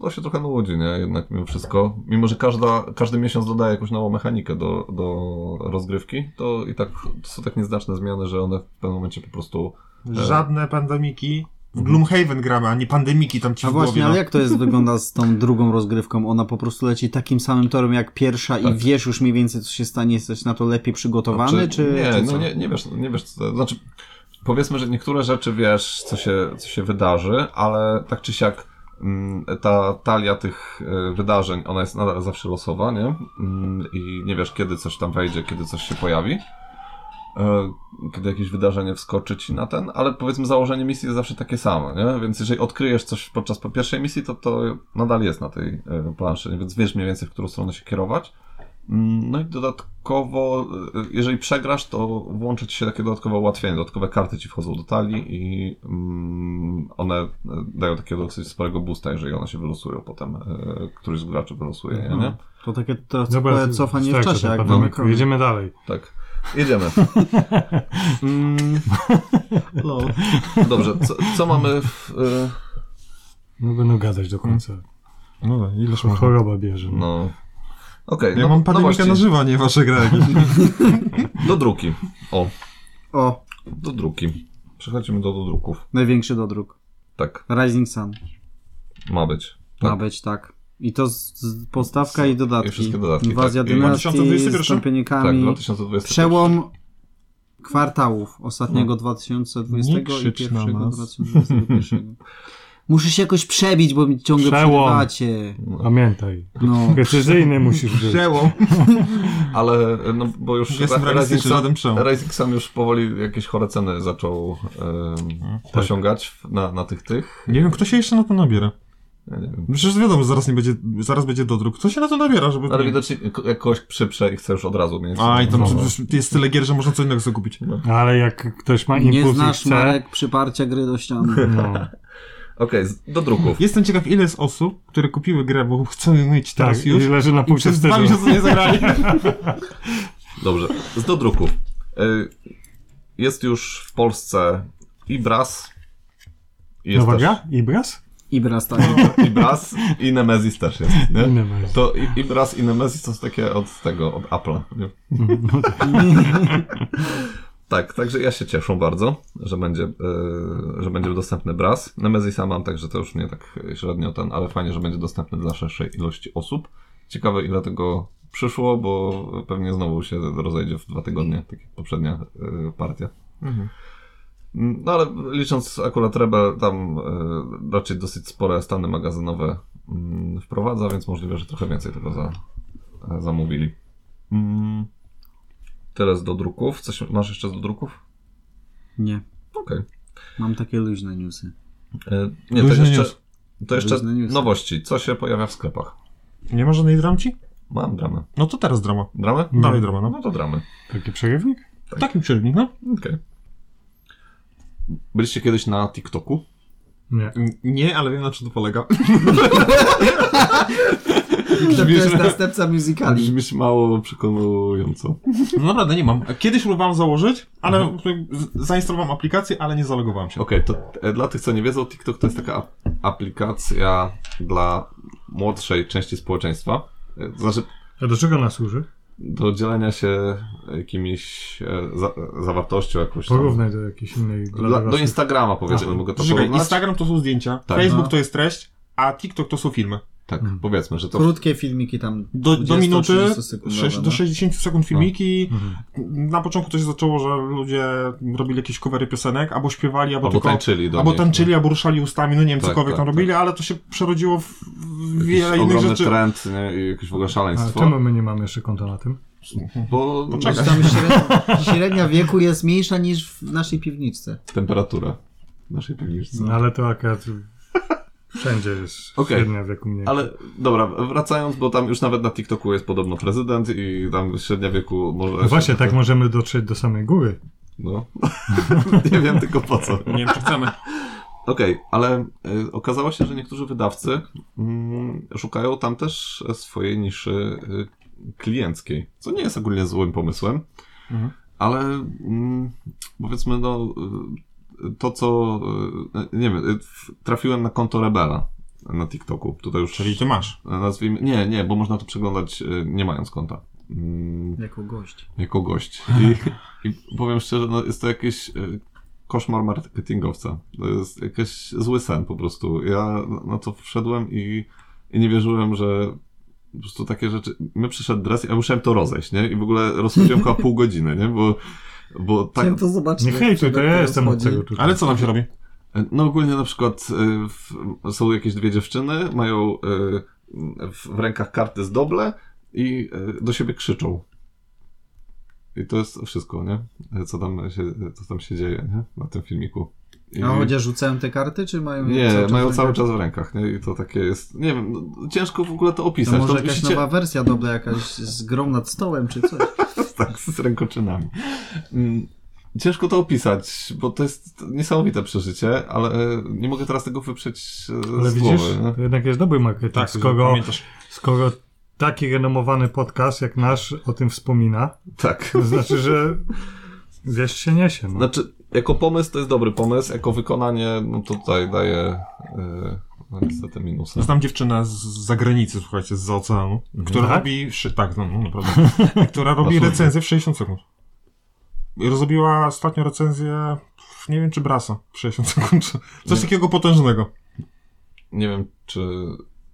to się trochę nudzi, nie? Jednak mimo wszystko. Mimo, że każda, każdy miesiąc dodaje jakąś nową mechanikę do, do rozgrywki, to i tak to są tak nieznaczne zmiany, że one w pewnym momencie po prostu... Żadne pandemiki. W Gloomhaven gramy, a nie pandemiki tam ci A w głowie. właśnie, no. ale jak to jest wygląda z tą drugą rozgrywką? Ona po prostu leci takim samym torem jak pierwsza i Tak. wiesz już mniej więcej, co się stanie, jesteś na to lepiej przygotowany, czy, Nie, czy no co? nie, nie wiesz, nie wiesz co, to- znaczy powiedzmy, że niektóre rzeczy wiesz, co się, co się wydarzy, ale tak czy siak mm, ta talia tych e, wydarzeń, ona jest nadal zawsze losowa, nie? Mm, I nie wiesz, kiedy coś tam wejdzie, kiedy coś się pojawi. E, Kiedy jakieś wydarzenie wskoczy ci na ten, ale powiedzmy założenie misji jest zawsze takie samo, nie? Więc jeżeli odkryjesz coś podczas pierwszej misji, to to nadal jest na tej e, planszy, więc wiesz mniej więcej, w którą stronę się kierować. Mm, No i dodatkowo, y, jeżeli przegrasz, to włączy ci się takie dodatkowe ułatwienie. Dodatkowe karty ci wchodzą do talii i mm, one y, dają takiego dosyć sporego boosta, jeżeli one się wylosują potem. y, Któryś z graczy wylosuje, nie? nie? No. To takie to, Dobra, to cofanie w starczy czasie. Jak ten pandemik. mamy- tak, Jedziemy dalej. Tak. Jedziemy. (laughs) Mm. Dobrze, co, co mamy w... y, No będą gadać do końca. No tak, ileż Szło można. choroba bierze. No. Mhm. No... Okej, Ja no, mam no pandemikę właśnie, na żywo, a nie wasze gra jakieś. do druki. O, O, do druki. Przechodzimy do dodruków. największy dodruk. Tak, Rising Sun. ma być. Ma być, tak. I to z, z podstawka i dodatki. I wszystkie dodatki, Inwazja tak. I dynastii, 2021? zastąpienie Tak, kami. 2020. Przełom kwartałów No. ostatniego 2020 Nie i krzycz na pierwszego nas. (laughs) 2021. Muszę się jakoś przebić, bo mi ciągle Przełom. przerywacie. Pamiętaj. (laughs) No. Precyzyjny musisz być. Przełom. Ale no bo już Jestem Ra- realistyczny, Rising Sun- żaden przełom. Rising Sun już powoli jakieś chore ceny zaczął em, Mhm. Tak. osiągać w- na, na tych tych. Nie wiem, kto się jeszcze na to nabiera. Ja nie wiem. Przecież wiadomo, zaraz nie będzie, zaraz będzie dodruk. Kto się na to nabiera, żeby... Ale widocznie ko- jak kogoś przyprze i chce już od razu mieć. A, i tam nowe. przecież jest tyle gier, że można co innego zakupić. Ale jak ktoś ma impuls Nie i znasz chce, tak, marek przyparcia gry do ściany. (laughs) no, Okej, z- do druków. Jestem ciekaw, ile jest osób, które kupiły grę, bo chcą ją mieć teraz tak, już. i leży na I półce przez dwa miesiące nie zagrali. Dobrze, z do druków. Y, Jest już w Polsce i Bras, I Jest Nowa też gra? Ibras? Ibra stanie. I Brass i Nemesis też jest, (laughs) nie? Nie ma. To i, i Brass i Nemesis to są takie od tego, od Apple'a, nie? Tak, także ja się cieszę bardzo, że będzie, e, że będzie dostępny Brass. Nemezisa mam, także to już nie tak średnio ten, ale fajnie, że będzie dostępny dla szerszej ilości osób. Ciekawe ile tego przyszło, bo pewnie znowu się rozejdzie w dwa tygodnie, tak jak poprzednia e, partia. No ale licząc akurat Rebel, tam e, raczej dosyć spore stany magazynowe mm, wprowadza, więc możliwe, że trochę więcej tego za, e, zamówili. Mm. Tyle z do druków. Coś masz jeszcze z do druków? Nie, Okej. mam takie luźne newsy. E, Nie, to Luźny jeszcze, news. to jeszcze Luźny news. nowości. Co się pojawia w sklepach? Nie ma żadnej dramci? Mam dramę. No to teraz drama. Dramę? Nie. Dalej drama, no. No to dramy. Taki przerywnik? Tak. Takim przerywnik, no. Okej. Byliście kiedyś na TikToku? Nie. N- Nie, ale wiem na czym to polega. To Brzmisz- jest następca musicali. Brzmisz mało przekonująco. No naprawdę nie mam. Kiedyś próbowałem założyć, ale Mhm. z- zainstalowałem aplikację, ale nie zalogowałem się. Okej, to e, dla tych, co nie wiedzą, TikTok to jest taka ap- aplikacja dla młodszej części społeczeństwa. E, To znaczy, A do czego ona służy? do dzielenia się jakimiś e, za, zawartością jakąś tam. Porównaj do jakiejś innej. dla Dla, do dorosłych. Instagrama powiedzmy, A, mogę to Czekaj, porównać. Instagram to są zdjęcia, Tak. Facebook No. to jest treść, a TikTok to są filmy. Tak, Mhm. powiedzmy, że to Krótkie filmiki tam. Do, do 20-30 minuty sekundowe, sześć- do no. 60 sekund filmiki. Mhm. Na początku to się zaczęło, że ludzie robili jakieś covery piosenek, albo śpiewali, albo, albo tylko... tańczyli do Albo nich, tańczyli, albo ruszali ustami, no nie wiem, Tak, cokolwiek tak, tam robili, ale to się przerodziło w w no. wiele Jakiś innych ogromny rzeczy. trend, nie? I jakieś w ogóle A szaleństwo. czemu my nie mamy jeszcze konta na tym? Bo no, Wiesz, Tam średnia, średnia wieku jest mniejsza niż w naszej piwniczce. temperatura w naszej piwniczce. No, ale to akurat wszędzie jest Okej. średnia wieku mniej. Ale dobra, wracając, bo tam już nawet na TikToku jest podobno prezydent i tam średnia wieku może... No właśnie, tak możemy dotrzeć do samej góry. No. (laughs) nie wiem tylko po co. Nie wiem, czy (laughs) chcemy. Okej, ale y, okazało się, że niektórzy wydawcy mm, szukają tam też swojej niszy y, klienckiej, co nie jest ogólnie złym pomysłem, Mhm. ale mm, powiedzmy, no y, to co, y, nie wiem, y, w- trafiłem na konto Rebela na TikToku, tutaj już Czyli ty masz. nazwijmy, nie, nie, bo można to przeglądać y, nie mając konta. Mm, Jako Tak. gość. jako gość. I, i powiem szczerze, no jest to jakiś y, koszmar marketingowca. To jest jakiś zły sen po prostu. Ja na- na to wszedłem i, i nie wierzyłem, że po prostu takie rzeczy... My przyszedł dres, ja musiałem to rozejść, nie? I w ogóle rozchodziłem chyba pół godziny, nie? Bo, bo tak... Chciałem Znaczy, to zobaczyć. Nie jak hejtuj, to przebieg ja jestem od rozchodzi. tego tutaj. Ale co tam się robi? No ogólnie na przykład y, w, są jakieś dwie dziewczyny, mają y, w, w rękach karty z doble i y, do siebie krzyczą. I to jest wszystko, nie? Co tam się, co tam się dzieje, nie? Na tym filmiku. I... A chociaż rzucają te karty, czy mają Nie, No, czas tak mają w cały rękach? czas w rękach, nie? I to takie jest, nie wiem, no, ciężko w ogóle to opisać. To może jakaś musicie- nowa wersja dobra, jakaś z grą nad stołem, czy coś. (laughs) tak, z rękoczynami. Mm, Ciężko to opisać, bo to jest niesamowite przeżycie, ale e, nie mogę teraz tego wyprzeć e, Ale z widzisz, głowy. nie? to jednak jest dobry marketing, Tak, skoro, pamiętasz. skoro taki renomowany podcast jak nasz o tym wspomina, Tak. to znaczy, że wiesz się niesie. No. Znaczy, jako pomysł to jest dobry pomysł, jako wykonanie, no to tutaj daje yy, no niestety minusy. Znam dziewczynę z z zagranicy, słuchajcie, z oceanu, Mhm. która Tak? robi. szy- Tak, no, no (laughs) naprawdę. która robi Dosłownie. recenzję w 60 sekund. I Zrobiła ostatnio recenzję, pff, nie wiem czy Brasa, w 60 sekund. czy- Coś Nie. takiego potężnego. Nie wiem, czy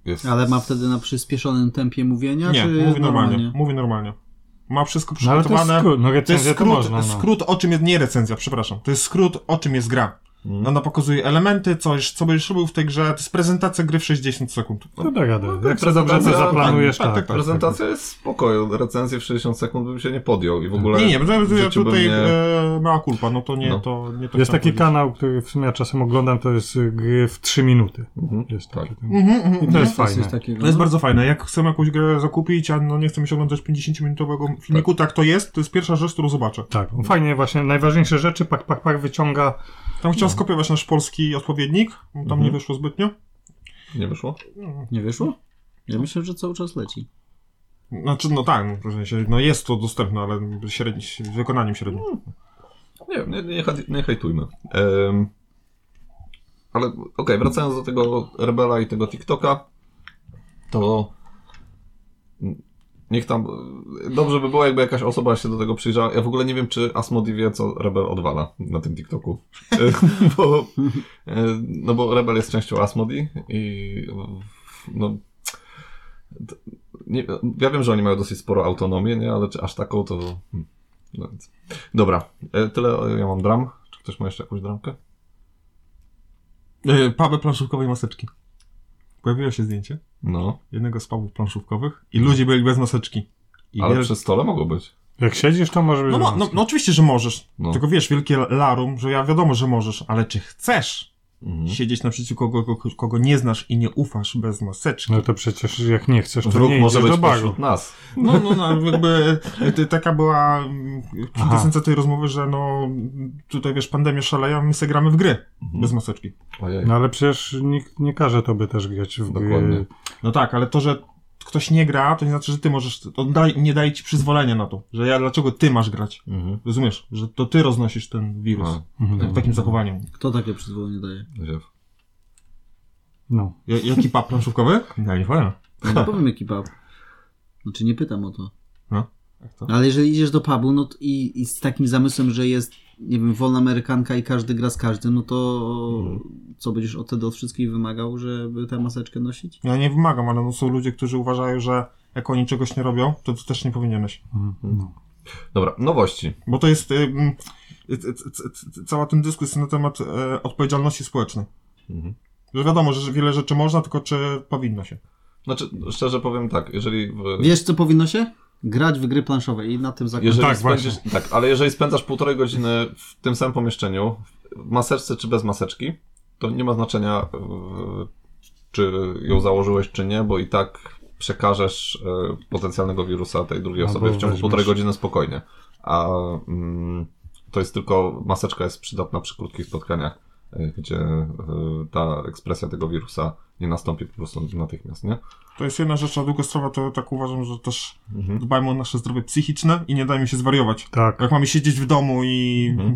jest... Ale ma wtedy na przyspieszonym tempie mówienia, Nie, czy mówi normalnie. Mówi normalnie. Ma wszystko No ale to jest przygotowane. skrót, no To jest recenzja to skrót, można. No. skrót o czym jest, nie recenzja, przepraszam. To jest skrót o czym jest gra. Mm. Ona pokazuje elementy, coś, co będziesz robił w tej grze. To jest prezentacja gry w 60 sekund. To da radę. jak sobie prezentacja- dobrze to zaplanujesz, tak, tak. tak, tak, Prezentacja jest spokojna, recenzję w 60 sekund bym się nie podjął i w ogóle... Nie, nie, bo w ja życiu bym tutaj nie- e, mała kulpa, no to nie, No. to nie to Jest chciałem taki powiedzieć. kanał, który w sumie ja czasem oglądam, to jest y, gry w 3 minuty. Mhm. Jest Tak. taki, ten- Mhm, mhm, I to mhm. jest Coś fajne. takiego. To jest no. bardzo fajne. Jak chcemy jakąś grę zakupić, a no nie chcemy się oglądać 50-minutowego filmiku, tak. to jest, to jest pierwsza rzecz, którą zobaczę. Tak, on fajnie właśnie, najważniejsze rzeczy, pak, pak, pak, wyciąga. Tam No. chciał skopiować nasz polski odpowiednik, tam Mhm. nie wyszło zbytnio. Nie wyszło? Nie wyszło? Ja myślę, że cały czas leci. Znaczy, no tak, no, w sensie, no jest to dostępne, ale średni, z No. wykonaniem średnim. Nie wiem, nie, nie, hej- nie hejtujmy. Em, Ale okej, wracając do tego Rebela i tego TikToka, to niech tam... Dobrze by było, jakby jakaś osoba się do tego przyjrzała. Ja w ogóle nie wiem, czy Asmodi wie, co Rebel odwala na tym TikToku. E, (laughs) bo, no bo Rebel jest częścią Asmodi i no... t- Nie, ja wiem, że oni mają dosyć sporo autonomię, nie? ale czy aż taką, to... hmm, No więc. Dobra, E, tyle ja mam dram. Czy ktoś ma jeszcze jakąś dramkę? (laughs) E, Pubę planszówkowej maseczki. Pojawiło się zdjęcie No, jednego z pubów planszówkowych i ludzie byli bez maseczki. I ale wiesz- przy stole mogło być. Jak siedzisz, to może być no, no, no, no oczywiście, że możesz. No. Tylko wiesz, wielkie larum, że ja wiadomo, że możesz, ale czy chcesz Mhm. siedzieć naprzeciwko kogo, kogo, kogo nie znasz i nie ufasz bez maseczki? No to przecież jak nie chcesz, to Wróg nie może idziesz być do baru. pośród nas. No, no, no jakby ty, taka była mm, Aha. kwintesencja tej rozmowy, że no tutaj wiesz, pandemia szaleje, a my se gramy w gry bez Mhm. maseczki. Mhm. Ojej. No ale przecież nikt nie każe tobie też grać w Dokładnie. gry. No tak, ale to, że ktoś nie gra, to nie znaczy, że ty możesz, on daj, nie daje ci przyzwolenia na to, że ja, dlaczego ty masz grać? Mhm. Rozumiesz? Że to ty roznosisz ten wirus. A, Tak, Mhm. takim zachowaniem. Kto takie przyzwolenie daje? ziew. No. Ja, jaki pap planszówkowy? Ja nie powiem. Ja nie powiem jaki pub. Znaczy nie pytam o to. Jak to? Ale jeżeli idziesz do pubu no to i, i z takim zamysłem, że jest, nie wiem, wolna amerykanka i każdy gra z każdym, no to co będziesz od tego od wszystkich wymagał, żeby tę maseczkę nosić? Ja nie wymagam, ale no są ludzie, którzy uważają, że jak oni czegoś nie robią, to ty też nie powinieneś. Mhm. no. Dobra, nowości. Bo to jest. Ym, c- c- c- c- cała ten dyskusja na temat e, odpowiedzialności społecznej. Mhm. Że wiadomo, że wiele rzeczy można, tylko czy powinno się. Znaczy, szczerze powiem tak, jeżeli... W... Wiesz, co powinno się? Grać w gry planszowe i na tym zakończyć. Jeżeli tak, spędzisz, tak, ale jeżeli spędzasz półtorej godziny w tym samym pomieszczeniu, w maseczce czy bez maseczki, to nie ma znaczenia, e, czy ją założyłeś, czy nie, bo i tak przekażesz e, potencjalnego wirusa tej drugiej Albo osobie w ciągu No weźmiesz- półtorej godziny spokojnie. A mm, to jest tylko, maseczka jest przydatna przy krótkich spotkaniach, e, gdzie e, ta ekspresja tego wirusa nie nastąpi po prostu natychmiast, nie? To jest jedna rzecz, a druga sprawa to tak uważam, że też Mhm. dbajmy o nasze zdrowie psychiczne i nie dajmy się zwariować. Tak. Jak mamy siedzieć w domu i Mhm.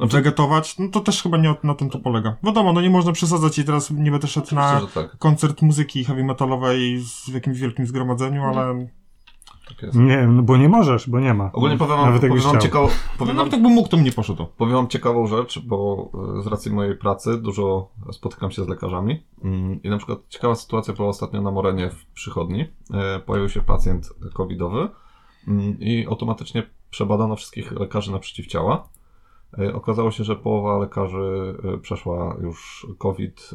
wegetować, no to też chyba nie o- na tym to polega. Wiadomo, no nie można przesadzać i teraz nie będę szedł na Myślę, że tak, koncert muzyki heavy metalowej z- w jakimś wielkim zgromadzeniu, Mhm. ale tak jest. Nie, no bo nie możesz, bo nie ma. Ogólnie powiem wam, Nawet jakbyś powiem wam, chciał. ciekawo, no, powiem wam nawet jakbym mógł, to bym nie poszedł. Powiem wam ciekawą rzecz, bo e, z racji mojej pracy dużo spotykam się z lekarzami Mm, i na przykład ciekawa sytuacja była ostatnio na Morenie w przychodni. E, Pojawił się pacjent covidowy mm, i automatycznie przebadano wszystkich lekarzy na przeciwciała. E, Okazało się, że połowa lekarzy e, przeszła już COVID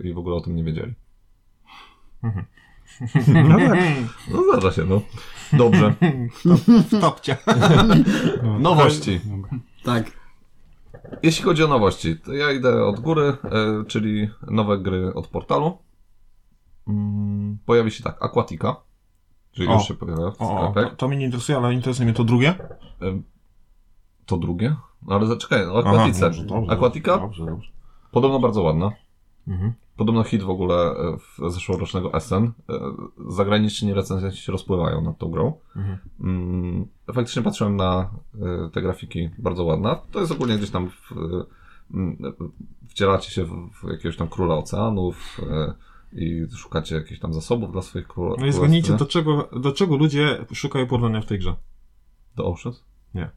e, i w ogóle o tym nie wiedzieli. No tak. No zdarza się, no. Dobrze. W topcie. No, (laughs) Nowości. Dobra. Tak. Jeśli chodzi o nowości, to ja idę od góry, e, czyli nowe gry od portalu. Mm, Pojawi się tak, Aquatica, czyli O. już się pojawia w O, o, to, sklepach. to mnie nie interesuje, ale interesuje mnie to drugie. To drugie? No ale zaczekaj, o Aquatice. dobrze, dobrze, Aquatica? Dobrze, dobrze. Podobno bardzo ładna. Mhm. Podobno hit w ogóle e, w zeszłorocznego SN. E, Zagraniczni recenzenci się rozpływają nad tą grą. Mhm. Mm, Faktycznie patrzyłem na e, te grafiki, bardzo ładna. To jest ogólnie gdzieś tam w, e, m, e, wcielacie się w, w jakiegoś tam króla oceanów e, i szukacie jakichś tam zasobów dla swoich króla. No i zgadnijcie, do czego, do czego ludzie szukają porównania w tej grze? Do Oceans? Nie.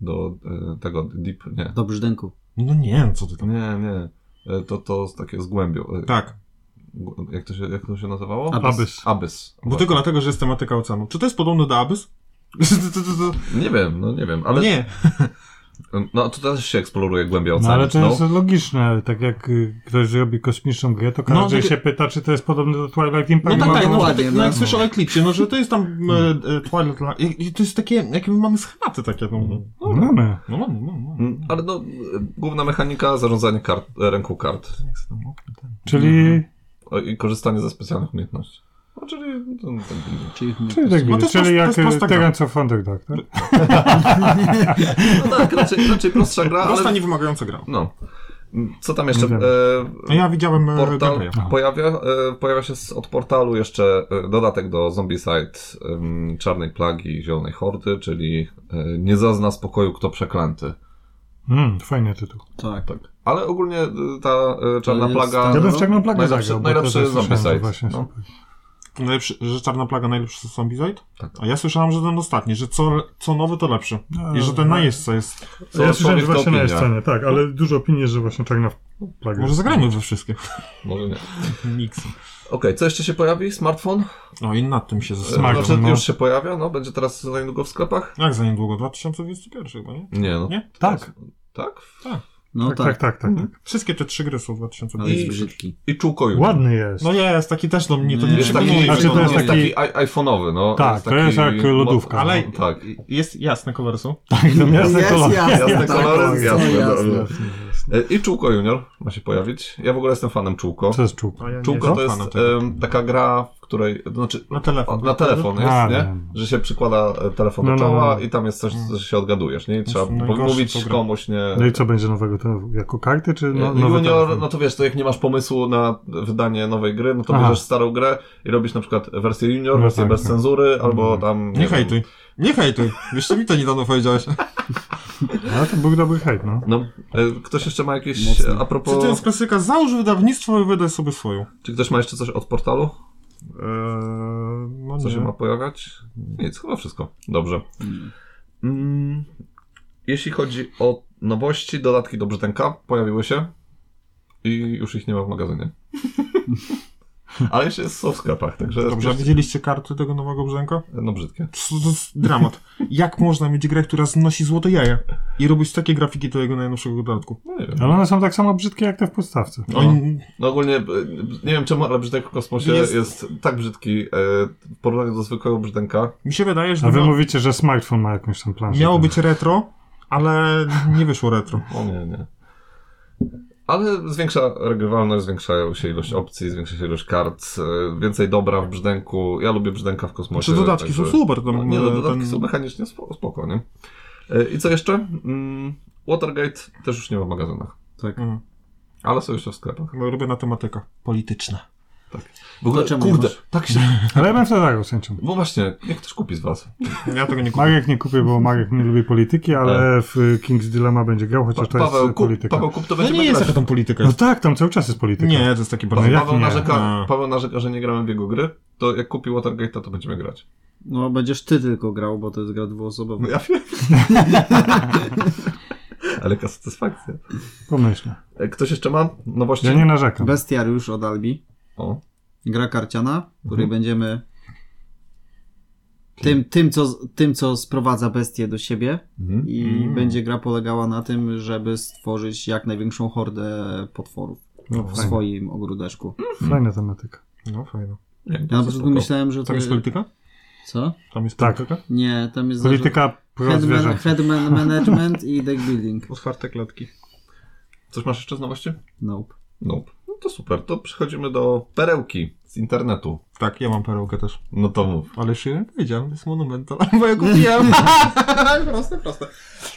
Do e, tego Deep? Nie. Do brzdęku. No nie, no co ty tam. Nie, nie. E, To, to z- takie z głębią. e, Tak, g- Jak to się, jak to się nazywało? A- Abys. Abyss. bo tylko dlatego, że jest tematyka oceanu. Czy to jest podobne do Abyss? Nie wiem, no nie wiem, ale Nie, no to też się eksploruje głębia No ale oceanów. to jest logiczne, tak jak y, ktoś zrobi kosmiczną grę, to każdy No, tak- się pyta, czy to jest podobne do Twilight Imperium. No tak, tak, no, dokładnie, tak, no jak no. słyszę o Eklipsie, no że to jest tam e, e, Twilight Land, i- i to jest takie, jakie my mamy schematy takie, no, No, Mamy. no, no, no, no. Mm, Ale no, y, główna mechanika zarządzanie kart, e, ręką kart Jak se tam okno, ten. Czyli, O, i korzystanie ze specjalnych umiejętności. No, czyli ten, ten, Czyli czyli, tak, No to jest czyli prost- to jak jest prosta y, gra. Terence of Underdog, tak? no tak, raczej, raczej prostsza gra, Prosta, ale... niewymagająca gra. No. Mm, Co tam jeszcze? Nie wiem. No E, ja widziałem e, portal gameplaya. pojawia, e, pojawia się z, od portalu jeszcze e, dodatek do Zombicide em, Czarnej Plagi i Zielonej Hordy, czyli e, nie zazna spokoju kto przeklęty. Mm, fajny tytuł. Tak. Ale ogólnie y, ta y, czarna jest plaga. A, Ja bym no. wciągnął plagę Najlepszy- zagrał, bo najlepszy też słyszałem, Zombicide, że Właśnie, no. super. Najlepszy, że Czarna Plaga najlepszy Zombicide? Tak. A ja słyszałem, że ten ostatni, że co, co nowy to lepszy. I że ten No, na jeźdźca jest. Co ja słyszałem, człowiek, że to właśnie na opinia. scenie, tak, ale dużo opinii, że właśnie czarna plaga. Może zagrajmy we wszystkie. Może nie. Okej, Mix. co jeszcze się pojawi? Smartfon? No i nad tym się Smak. zastanawiam. Smartfon, znaczy, no. już się pojawia, no będzie teraz za niedługo w sklepach? Jak za niedługo? 2021 chyba, nie? Nie, no. Nie? Tak, Tak? No tak, tak, tak. tak, tak. tak. Wszystkie te trzy gry są Ale 2021. jest I- brzydki. I czółko już. Ładny jest. No nie, jest taki też do mnie, to Nie. nie Jest taki, przekonuje. Znaczy, to jest jest taki- taki i- iPhone'owy, no. Tak, to jest jak lodówka, no. Ale... Tak. Jest jasne kolory są. No, jasne Jest kolory. jasne, (laughs) Jasne tak, kolory, jest jasne, jasne. dobra. E, I Czółko Junior ma się pojawić. Ja w ogóle jestem fanem Czółko. Co jest czółko? A ja nie Czółko to jestem jest fanem tego. em, taka gra, w której, to znaczy Na o, telefon. na telefon jest, A, nie? wiem. Że się przykłada e, telefon do No, no, czoła no. i tam jest coś, że się odgadujesz, nie? I trzeba najgorsze to mówić gra. komuś, nie? No i co będzie nowego? To jako karty, czy no, No, nowy junior, telefon? no to wiesz, to jak nie masz pomysłu na wydanie nowej gry, no to Aha. bierzesz starą grę i robisz na przykład wersję junior, No wersję tak, bez tak. cenzury, albo tam... Nie wiem. hejtuj. Nie hejtuj. Wiesz, co mi to niedawno powiedziałeś. Ale to był dobry hejt, no. No, e, ktoś jeszcze ma jakieś... Mocno. A Co to jest propos... klasyka? Załóż wydawnictwo i wydaj sobie swoją. Czy ktoś ma jeszcze coś od portalu? Eee, no Co nie. się ma pojawiać? Nic, chyba wszystko. Dobrze. Mm, jeśli chodzi o nowości, dodatki do Brzytenka pojawiły się i już ich nie ma w magazynie. (laughs) Ale jeszcze jest są w sklepach, także... Dobrze, a widzieliście karty tego nowego brzęka? No brzydkie. Co To jest dramat. Jak można mieć grę, która znosi złote jaja i robić takie grafiki do jego najnowszego dodatku? No nie wiem. Ale one są tak samo brzydkie jak te w podstawce. No. Oni, No ogólnie, e, nie wiem czemu, ale brzdęk w kosmosie jest, Jest- tak brzydki e, w porównaniu do zwykłego brzdęka. mi się wydaje, że A wy mia- mówicie, że smartfon ma jakąś tam planszę. No. miało tam. być retro, ale nie wyszło retro. O No nie, nie. Ale zwiększa regrywalność, zwiększają się ilość opcji, zwiększa się ilość kart, e, więcej dobra w brzdęku. Ja lubię brzdęka w kosmosie. Czy dodatki są także- super. Tam, No, nie, no, e, dodatki ten- są mechanicznie spo- spoko, nie? E, I co jeszcze? Mm, Watergate też już nie ma w magazynach, tak. Mm. ale są jeszcze w sklepach. No, Robiona tematyka polityczna. W ogóle, czemu nie kurde, masz? tak się... Ale ja bym wtedy zagrał z chęcią. Bo właśnie, niech ktoś kupi z was. Ja tego nie kupię. Marek nie kupię, bo Marek nie lubi polityki, ale w y, King's Dilemma będzie grał, chociaż to e, Paweł, jest kup, polityka. Paweł, kup, to To będzie nie jest grać. jaka tam polityka No jest. tak, tam cały czas jest polityka. Nie, to jest taki Pa- bardzo... No jak Paweł, nie? narzeka, No. Paweł narzeka, że nie gramy w jego gry, to jak kupi Watergate'a, to będziemy grać. No będziesz ty tylko grał, bo to jest gra dwuosobowa. No ja (laughs) wiem. Ale jaka satysfakcja. Pomyślę. E, Ktoś jeszcze ma nowości? Ja nie narzekam. Bestiariusz od Albi. O, Gra karciana, w Mhm. której będziemy tym, tym, co, tym, co sprowadza bestie do siebie mhm. i Mm. będzie gra polegała na tym, żeby stworzyć jak największą hordę potworów No, w fajna, swoim ogródeczku. fajna tematyka. No fajno. Nie, Ja na to początku spoko. myślałem, że to Tam Y- jest polityka? Co? Tam jest Tak. polityka? Nie, tam jest Polityka pro head, man, zwierzęta. head (laughs) man management i deck building. Otwarte klatki. Coś masz jeszcze z nowości? Nope. Nope. No to super, to przechodzimy do perełki z internetu. Tak, ja mam perełkę też. No to mów. Ale jeszcze nie powiedziałem, to (laughs) jest monumental, bo ja kupiłem. proste, proste.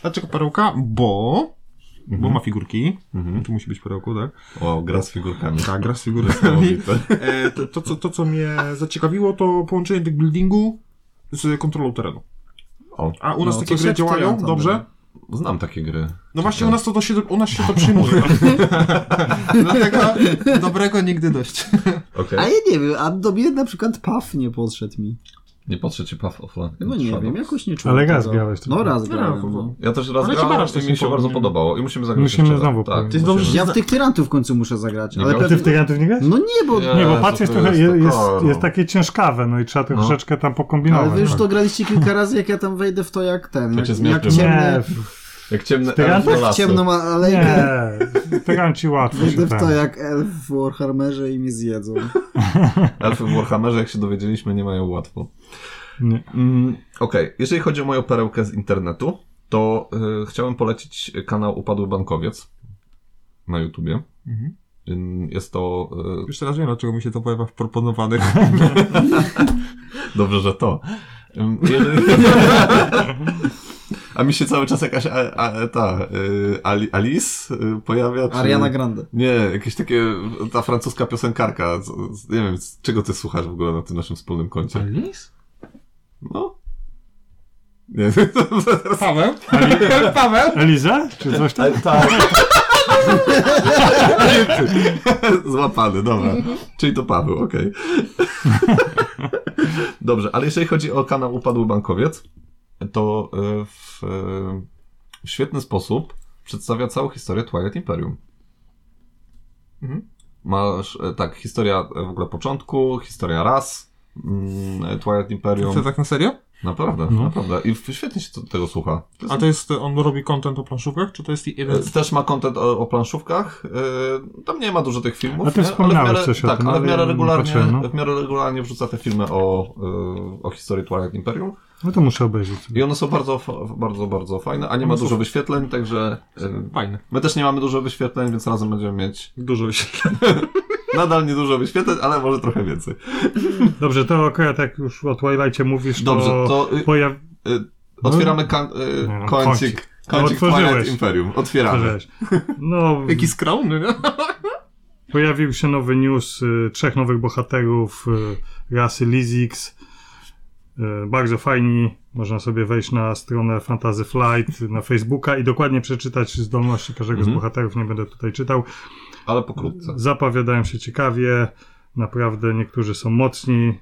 Dlaczego perełka? Bo... Bo ma figurki. Mhm. Tu musi być perełką, tak? O, gra z figurkami. Tak, (laughs) gra z figurkami. Niesamowite. E, to, to, co, to, co mnie zaciekawiło, to połączenie tych buildingu z kontrolą terenu. O. A u nas No, takie to gry się działają, wstawiam tam, dobrze? dobra. Znam takie gry. No właśnie u nas to do się, u nas się to (laughs) przyjmuje. Dlatego dobrego nigdy dość. Okej. A ja nie wiem, a do mnie na przykład PAF nie podszedł mi. Nie patrzę ci Path of Land. No nie Shadows. wiem, jakoś nie czułem Ale raz tego. grałeś No tylko. raz No, grałem, no, no. no. Ja też raz Ale ci grałem Barasz i też mi nie się bardzo podobał. podobało. I musimy zagrać Musimy jeszcze raz. znowu Tak, powiedzieć. Ty dobrze, Ja w tych tyrantów w końcu muszę zagrać, Nie ale grałeś? Ty w pewnie... Tyrantów nie grasz? No nie, bo... Nie, Nie, bo to patrz jest to trochę, jest jest, jest, taka, no. jest takie ciężkawe, no i trzeba to No. troszeczkę tam pokombinować. Ale wy już to tak. graliście kilka razy, jak ja tam wejdę w to jak ten, cię jak, jak zmiotłem. Nie, ciemne, w- Jak ciemne W tyrantach? elfy w lasy. ciemną alejkę, (laughs) nie, w Tyranci łatwo wejdę się w to ten. jak elf w Warhammerze i mnie zjedzą. Elfy w Warhammerze, jak się dowiedzieliśmy, nie mają łatwo. Nie. Mm, Okej, jeżeli chodzi o moją perełkę z internetu, to y, chciałem polecić kanał Upadły Bankowiec na YouTubie. Mhm. Ym, Jest to. Już teraz wiem, dlaczego no, mi się to pojawia w (laughs) proponowanych. y, Dobrze, że to. Ym, Jeżeli... A mi się cały czas jakaś a, a, ta y, Ali- Alice y, pojawia. Czy... Ariana Grande. Nie, jakieś takie. Ta francuska piosenkarka. z- z- Nie wiem, z czego ty słuchasz w ogóle na tym naszym wspólnym koncie. Alice? No. Nie, (laughs) Paweł? Paweł? Eliza? Czy coś tam? tak. (laughs) Złapany, dobra. Czyli to Paweł, okej. (laughs) Dobrze, ale jeżeli chodzi o kanał Upadły Bankowiec, to e, w e, w świetny sposób przedstawia całą historię Twilight Imperium. Mhm. Masz, e, tak, historia e, w ogóle początku, historia ras, mm, Twilight Imperium. To tak na serio? Naprawdę, No. naprawdę. I w- świetnie się to, tego słucha. To jest A to jest, on robi content o planszówkach, czy to jest jeden z... E, Też ma kontent o, o planszówkach. E, Tam nie ma dużo tych filmów. A ty nie? wspomniałeś ale w miarę, coś o tak, tym, ale w ale miarę, ja nie regularnie, patrzyłem, no. w miarę regularnie wrzuca te filmy o, e, o historii Twilight Imperium. No to muszę obejrzeć. sobie. I one są bardzo, fa- bardzo, bardzo fajne, a nie ma dużo wyświetleń, także e, Fajny. my też nie mamy dużo wyświetleń, więc razem będziemy mieć Dużo wyświetleń. (laughs) nadal niedużo wyświetleń, ale może trochę więcej. Dobrze, to akurat jak już o Twilightie mówisz, to, Dobrze, to y, pojaw... otwieramy kan- y, No, kącik. kącik. Kącik Otworzyłeś. Twilight Imperium. Otwieramy. Ależ. (laughs) No, Jaki skromny, nie? pojawił się nowy news y, trzech nowych bohaterów y, rasy Lizix. Y, bardzo fajni. Można sobie wejść na stronę Fantasy Flight na Facebooka i dokładnie przeczytać zdolności każdego Mhm. z bohaterów. Nie będę tutaj czytał. Ale pokrótce. Zapowiadają się ciekawie. Naprawdę niektórzy są mocni.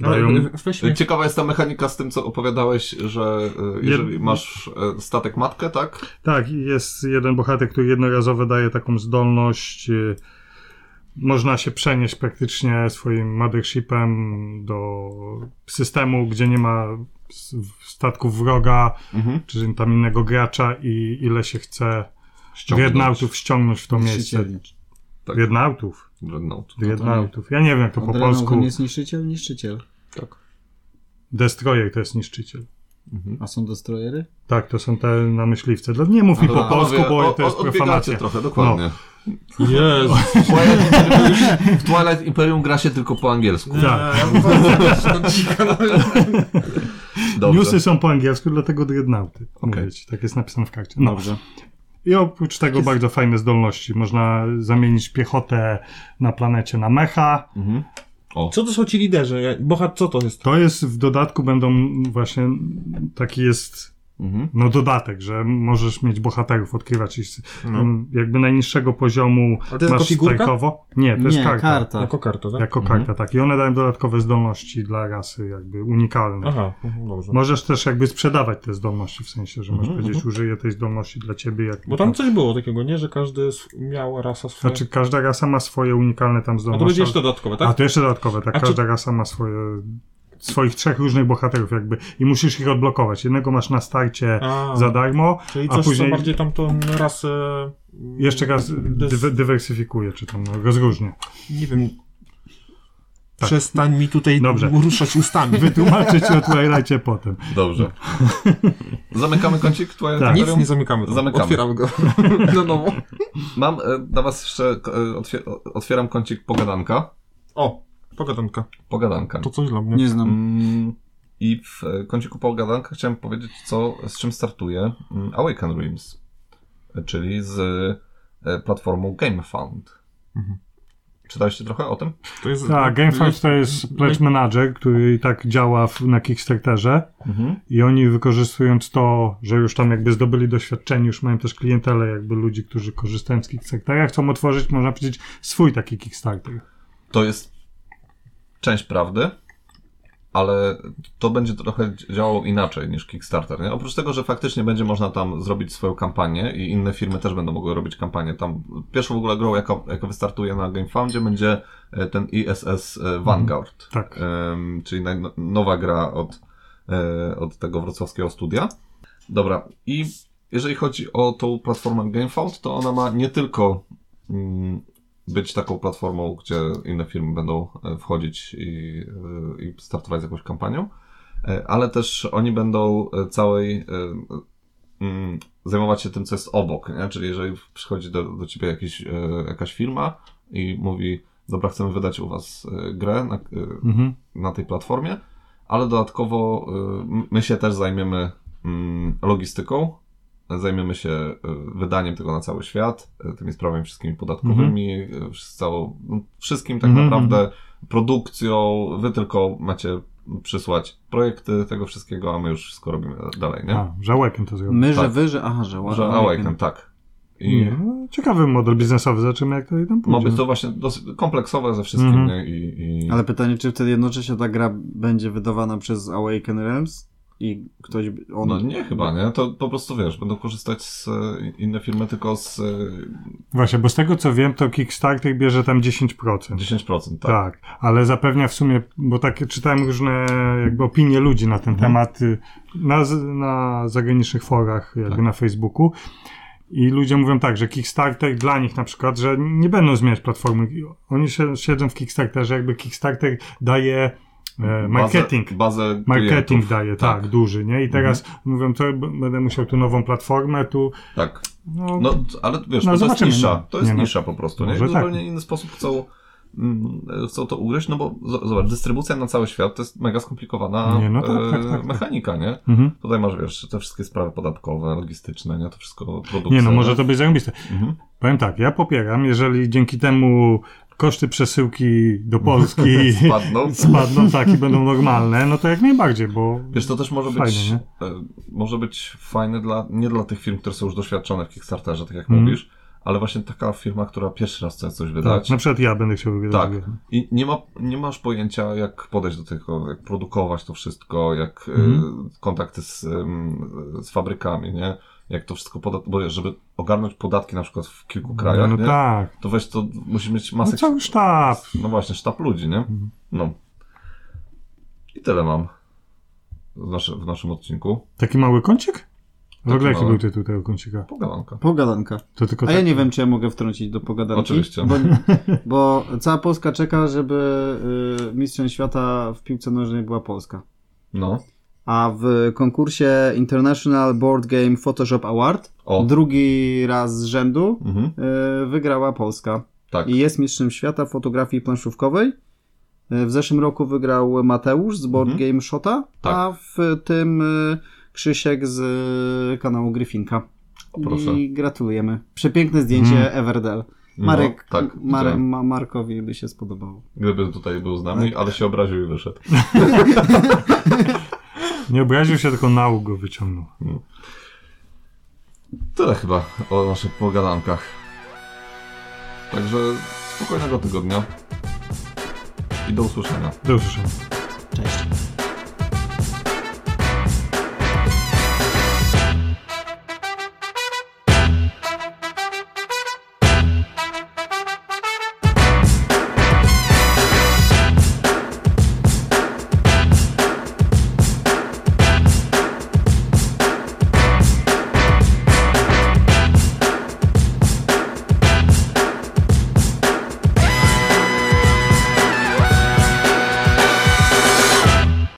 Dają... Weźmy. Ciekawa jest ta mechanika z tym, co opowiadałeś, że e, jeżeli Jed- masz e, statek matkę, tak? Tak, i jest jeden bohater, który jednorazowo daje taką zdolność. y, Można się przenieść praktycznie swoim mothershipem do systemu, gdzie nie ma s- statków wroga, Mhm. czy tam innego gracza i ile się chce dreadnoughtów ściągnąć w to miejsce. Niszczyciel. Tak. Dreadnoughtów? Dreadnought. Dreadnoughtów. Ja No nie wiem jak to po Adrenalin polsku. jest niszczyciel, niszczyciel. Destroyer to jest niszczyciel. A są destroyery? Tak, to są te na myśliwce. Dla- Nie mów mi po Dobra, polsku, panowie, bo o- to jest o- odbiegacie profanacja. No. trochę, dokładnie. Jezu. Twilight Imperium już- W Twilight Imperium gra się tylko po angielsku. Tak. (laughs) No, Dobrze. Newsy są po angielsku, dlatego dreadnoughty. Okej. Mówię ci, tak jest napisane w karcie. No. Dobrze. I oprócz tego bardzo fajne zdolności. Można zamienić piechotę na planecie na mecha. Mhm. Co to są ci liderzy? Ja- Bohat, co to jest? To jest w dodatku będą właśnie taki jest Mhm. no dodatek, że możesz mieć bohaterów odkrywać i s- No. tam jakby najniższego poziomu Ale to jest masz jako figurka? strajkowo. Nie, Tak, to jest Nie, karta. karta. Jako karta, tak? Jako Mhm. karta, tak. I one dają dodatkowe zdolności dla rasy, jakby unikalne. Aha, mhm, dobrze. Możesz też jakby sprzedawać te zdolności, w sensie, że możesz Mhm, powiedzieć, użyję tej zdolności dla ciebie. Jak Bo tam coś było takiego, nie? Że każdy sw- miał rasa swoją. Znaczy, każda rasa ma swoje unikalne tam A to zdolności. będzie jeszcze dodatkowe, A tak? to jeszcze dodatkowe, tak. A czy- każda rasa ma swoje, swoich trzech różnych bohaterów jakby i musisz ich odblokować. Jednego masz na starcie A, za darmo, czyli a coś, później- co bardziej tamtą rasę... mm, jeszcze raz dys- dywe- dywersyfikuje, czy tam no, rozróżnia. Nie wiem... Przestań mi tutaj Tak. Dobrze. ruszać ustami. Wytłumaczę ci o Twilightie potem. Dobrze. Zamykamy kącik Twilight Tak. Nic Imperium. nie zamykamy. tam. Zamykamy. Otwieramy (laughs) go na nowo. Mam e, dla was jeszcze, e, otwier otwieram kącik pogadanka. O, pogadanka. Pogadanka. To coś dla mnie. Nie znam. Mm, I w e, kąciku pogadanka chciałem powiedzieć, co, z czym startuje mm, Awaken Realms, e, czyli z e, platformą GameFound. Czytaliście trochę o tym? Mhm. To jest... Mhm. Tak, GameFound to jest pledge manager, który i tak działa w, na Kickstarterze. I oni wykorzystując to, że już tam jakby zdobyli doświadczenie, już mają też klientele, jakby ludzi, którzy korzystają z Kickstartera, chcą otworzyć, można powiedzieć, swój taki Kickstarter. To jest część prawdy, ale to będzie trochę działało inaczej niż Kickstarter. Nie? Oprócz tego, że faktycznie będzie można tam zrobić swoją kampanię i inne firmy też będą mogły robić kampanię. Tam pierwszą w ogóle grą, jaka, jaka wystartuje na GameFoundzie, będzie e, ten ISS e, Vanguard. Tak. Em, czyli naj- nowa gra od, e, od tego wrocławskiego studia. Dobra, i jeżeli chodzi o tą platformę GameFound, to ona ma nie tylko mm, być taką platformą, gdzie inne firmy będą e, wchodzić i, e, i startować z jakąś kampanią, e, ale też oni będą e, całej e, mm, zajmować się tym, co jest obok, nie? czyli jeżeli przychodzi do, do ciebie jakiś, e, jakaś firma i mówi, dobra, chcemy wydać u was e, grę na, e, Mhm. na tej platformie, ale dodatkowo y, my się też zajmiemy mm, logistyką, zajmiemy się y, wydaniem tego na cały świat, y, tymi sprawami wszystkimi podatkowymi, y, z całą, no, wszystkim tak Mhm, naprawdę, produkcją, wy tylko macie przysłać projekty tego wszystkiego, a my już wszystko robimy dalej, nie? A, że Awaken to zrobił. My, że Tak. wy, że aha, że Że ła- Awaken, tak. I Nie, no, ciekawy model biznesowy, zobaczymy jak to tam ma pójdzie. być to właśnie dosyć kompleksowe ze wszystkim, Mhm. nie? I, i... Ale pytanie, czy wtedy jednocześnie ta gra będzie wydawana przez Awaken Realms i ktoś, by- on... No nie, chyba, nie? To po prostu, wiesz, będą korzystać z e, inne firmy tylko z e, Właśnie, bo z tego co wiem, to Kickstarter bierze tam 10%. 10%, tak? Tak, ale zapewnia w sumie, bo tak czytałem różne jakby opinie ludzi na ten Mhm. temat y, na, z- na zagranicznych forach, jakby Tak. na Facebooku. I ludzie mówią tak, że Kickstarter dla nich na przykład, że nie będą zmieniać platformy. I Oni si- siedzą w Kickstarterze, jakby Kickstarter daje e, marketing. Bazę, bazę Marketing klientów. daje, tak, Tak. duży, nie? I teraz mówią, to b- będę musiał tu nową platformę, tu. Tak. No, No, t- ale wiesz, No, no, to jest zobaczymy, nisza. no. To jest Nie, no. nisza po prostu, nie? Może I tak. Zupełnie inny sposób chcą, mm, chcą to ugryźć, no bo z- zobacz, dystrybucja na cały świat to jest mega skomplikowana Nie, no tak, e, tak, tak, tak. mechanika, nie? mhm. Tutaj masz, wiesz, te wszystkie sprawy podatkowe, logistyczne, nie? To wszystko produkcja. Nie no, może to być zarąbiste. Mhm. Powiem tak, ja popieram, jeżeli dzięki temu koszty przesyłki do (laughs) Polski (laughs) Spadną. spadną tak i będą normalne, no to jak najbardziej, bo Wiesz, to też może być, Fajne, e, może być fajne dla, nie dla tych firm, które są już doświadczone w Kickstarterze, tak jak Mhm. mówisz, ale właśnie taka firma, która pierwszy raz chce coś wydać. tak, na przykład ja będę chciał wybierać. Tak. I nie, ma, nie masz pojęcia, jak podejść do tego, jak produkować to wszystko, jak e, Mhm. kontakty z, em, z fabrykami, nie? Jak to wszystko podat... Bo wiesz, żeby ogarnąć podatki na przykład w kilku krajach, no nie? tak, to weź to, musisz mieć no Mhm. masę... cały sztab. No właśnie, sztab ludzi, nie? No. I tyle mam w, nasze, w naszym odcinku. Taki mały kącik? W Taki ogóle jaki mały. był tytuł tego kącika? Pogadanka. Pogadanka. To A tylko tak. ja nie wiem, czy ja mogę wtrącić do pogadanki. Oczywiście. Bo, bo cała Polska czeka, żeby y, mistrzem świata w piłce nożnej była Polska. No. A w konkursie International Board Game Photoshop Award O. drugi raz z rzędu Mhm. y, wygrała Polska. Tak. I jest mistrzem świata w fotografii planszówkowej. Y, W zeszłym roku wygrał Mateusz z Board Mhm. Game Shota, Tak. a w tym y, Krzysiek z y, kanału Gryfinka. O, proszę. I gratulujemy. Przepiękne zdjęcie Mhm. Everdell. Marek, No, tak. Mare, widziałem. ma, Markowi by się spodobało. Gdyby tutaj był z nami, ale się obraził i wyszedł. Nie obraził się, tylko nauk go wyciągnął. Tyle chyba o naszych pogadankach. Także spokojnego tygodnia i do usłyszenia. Do usłyszenia. Cześć.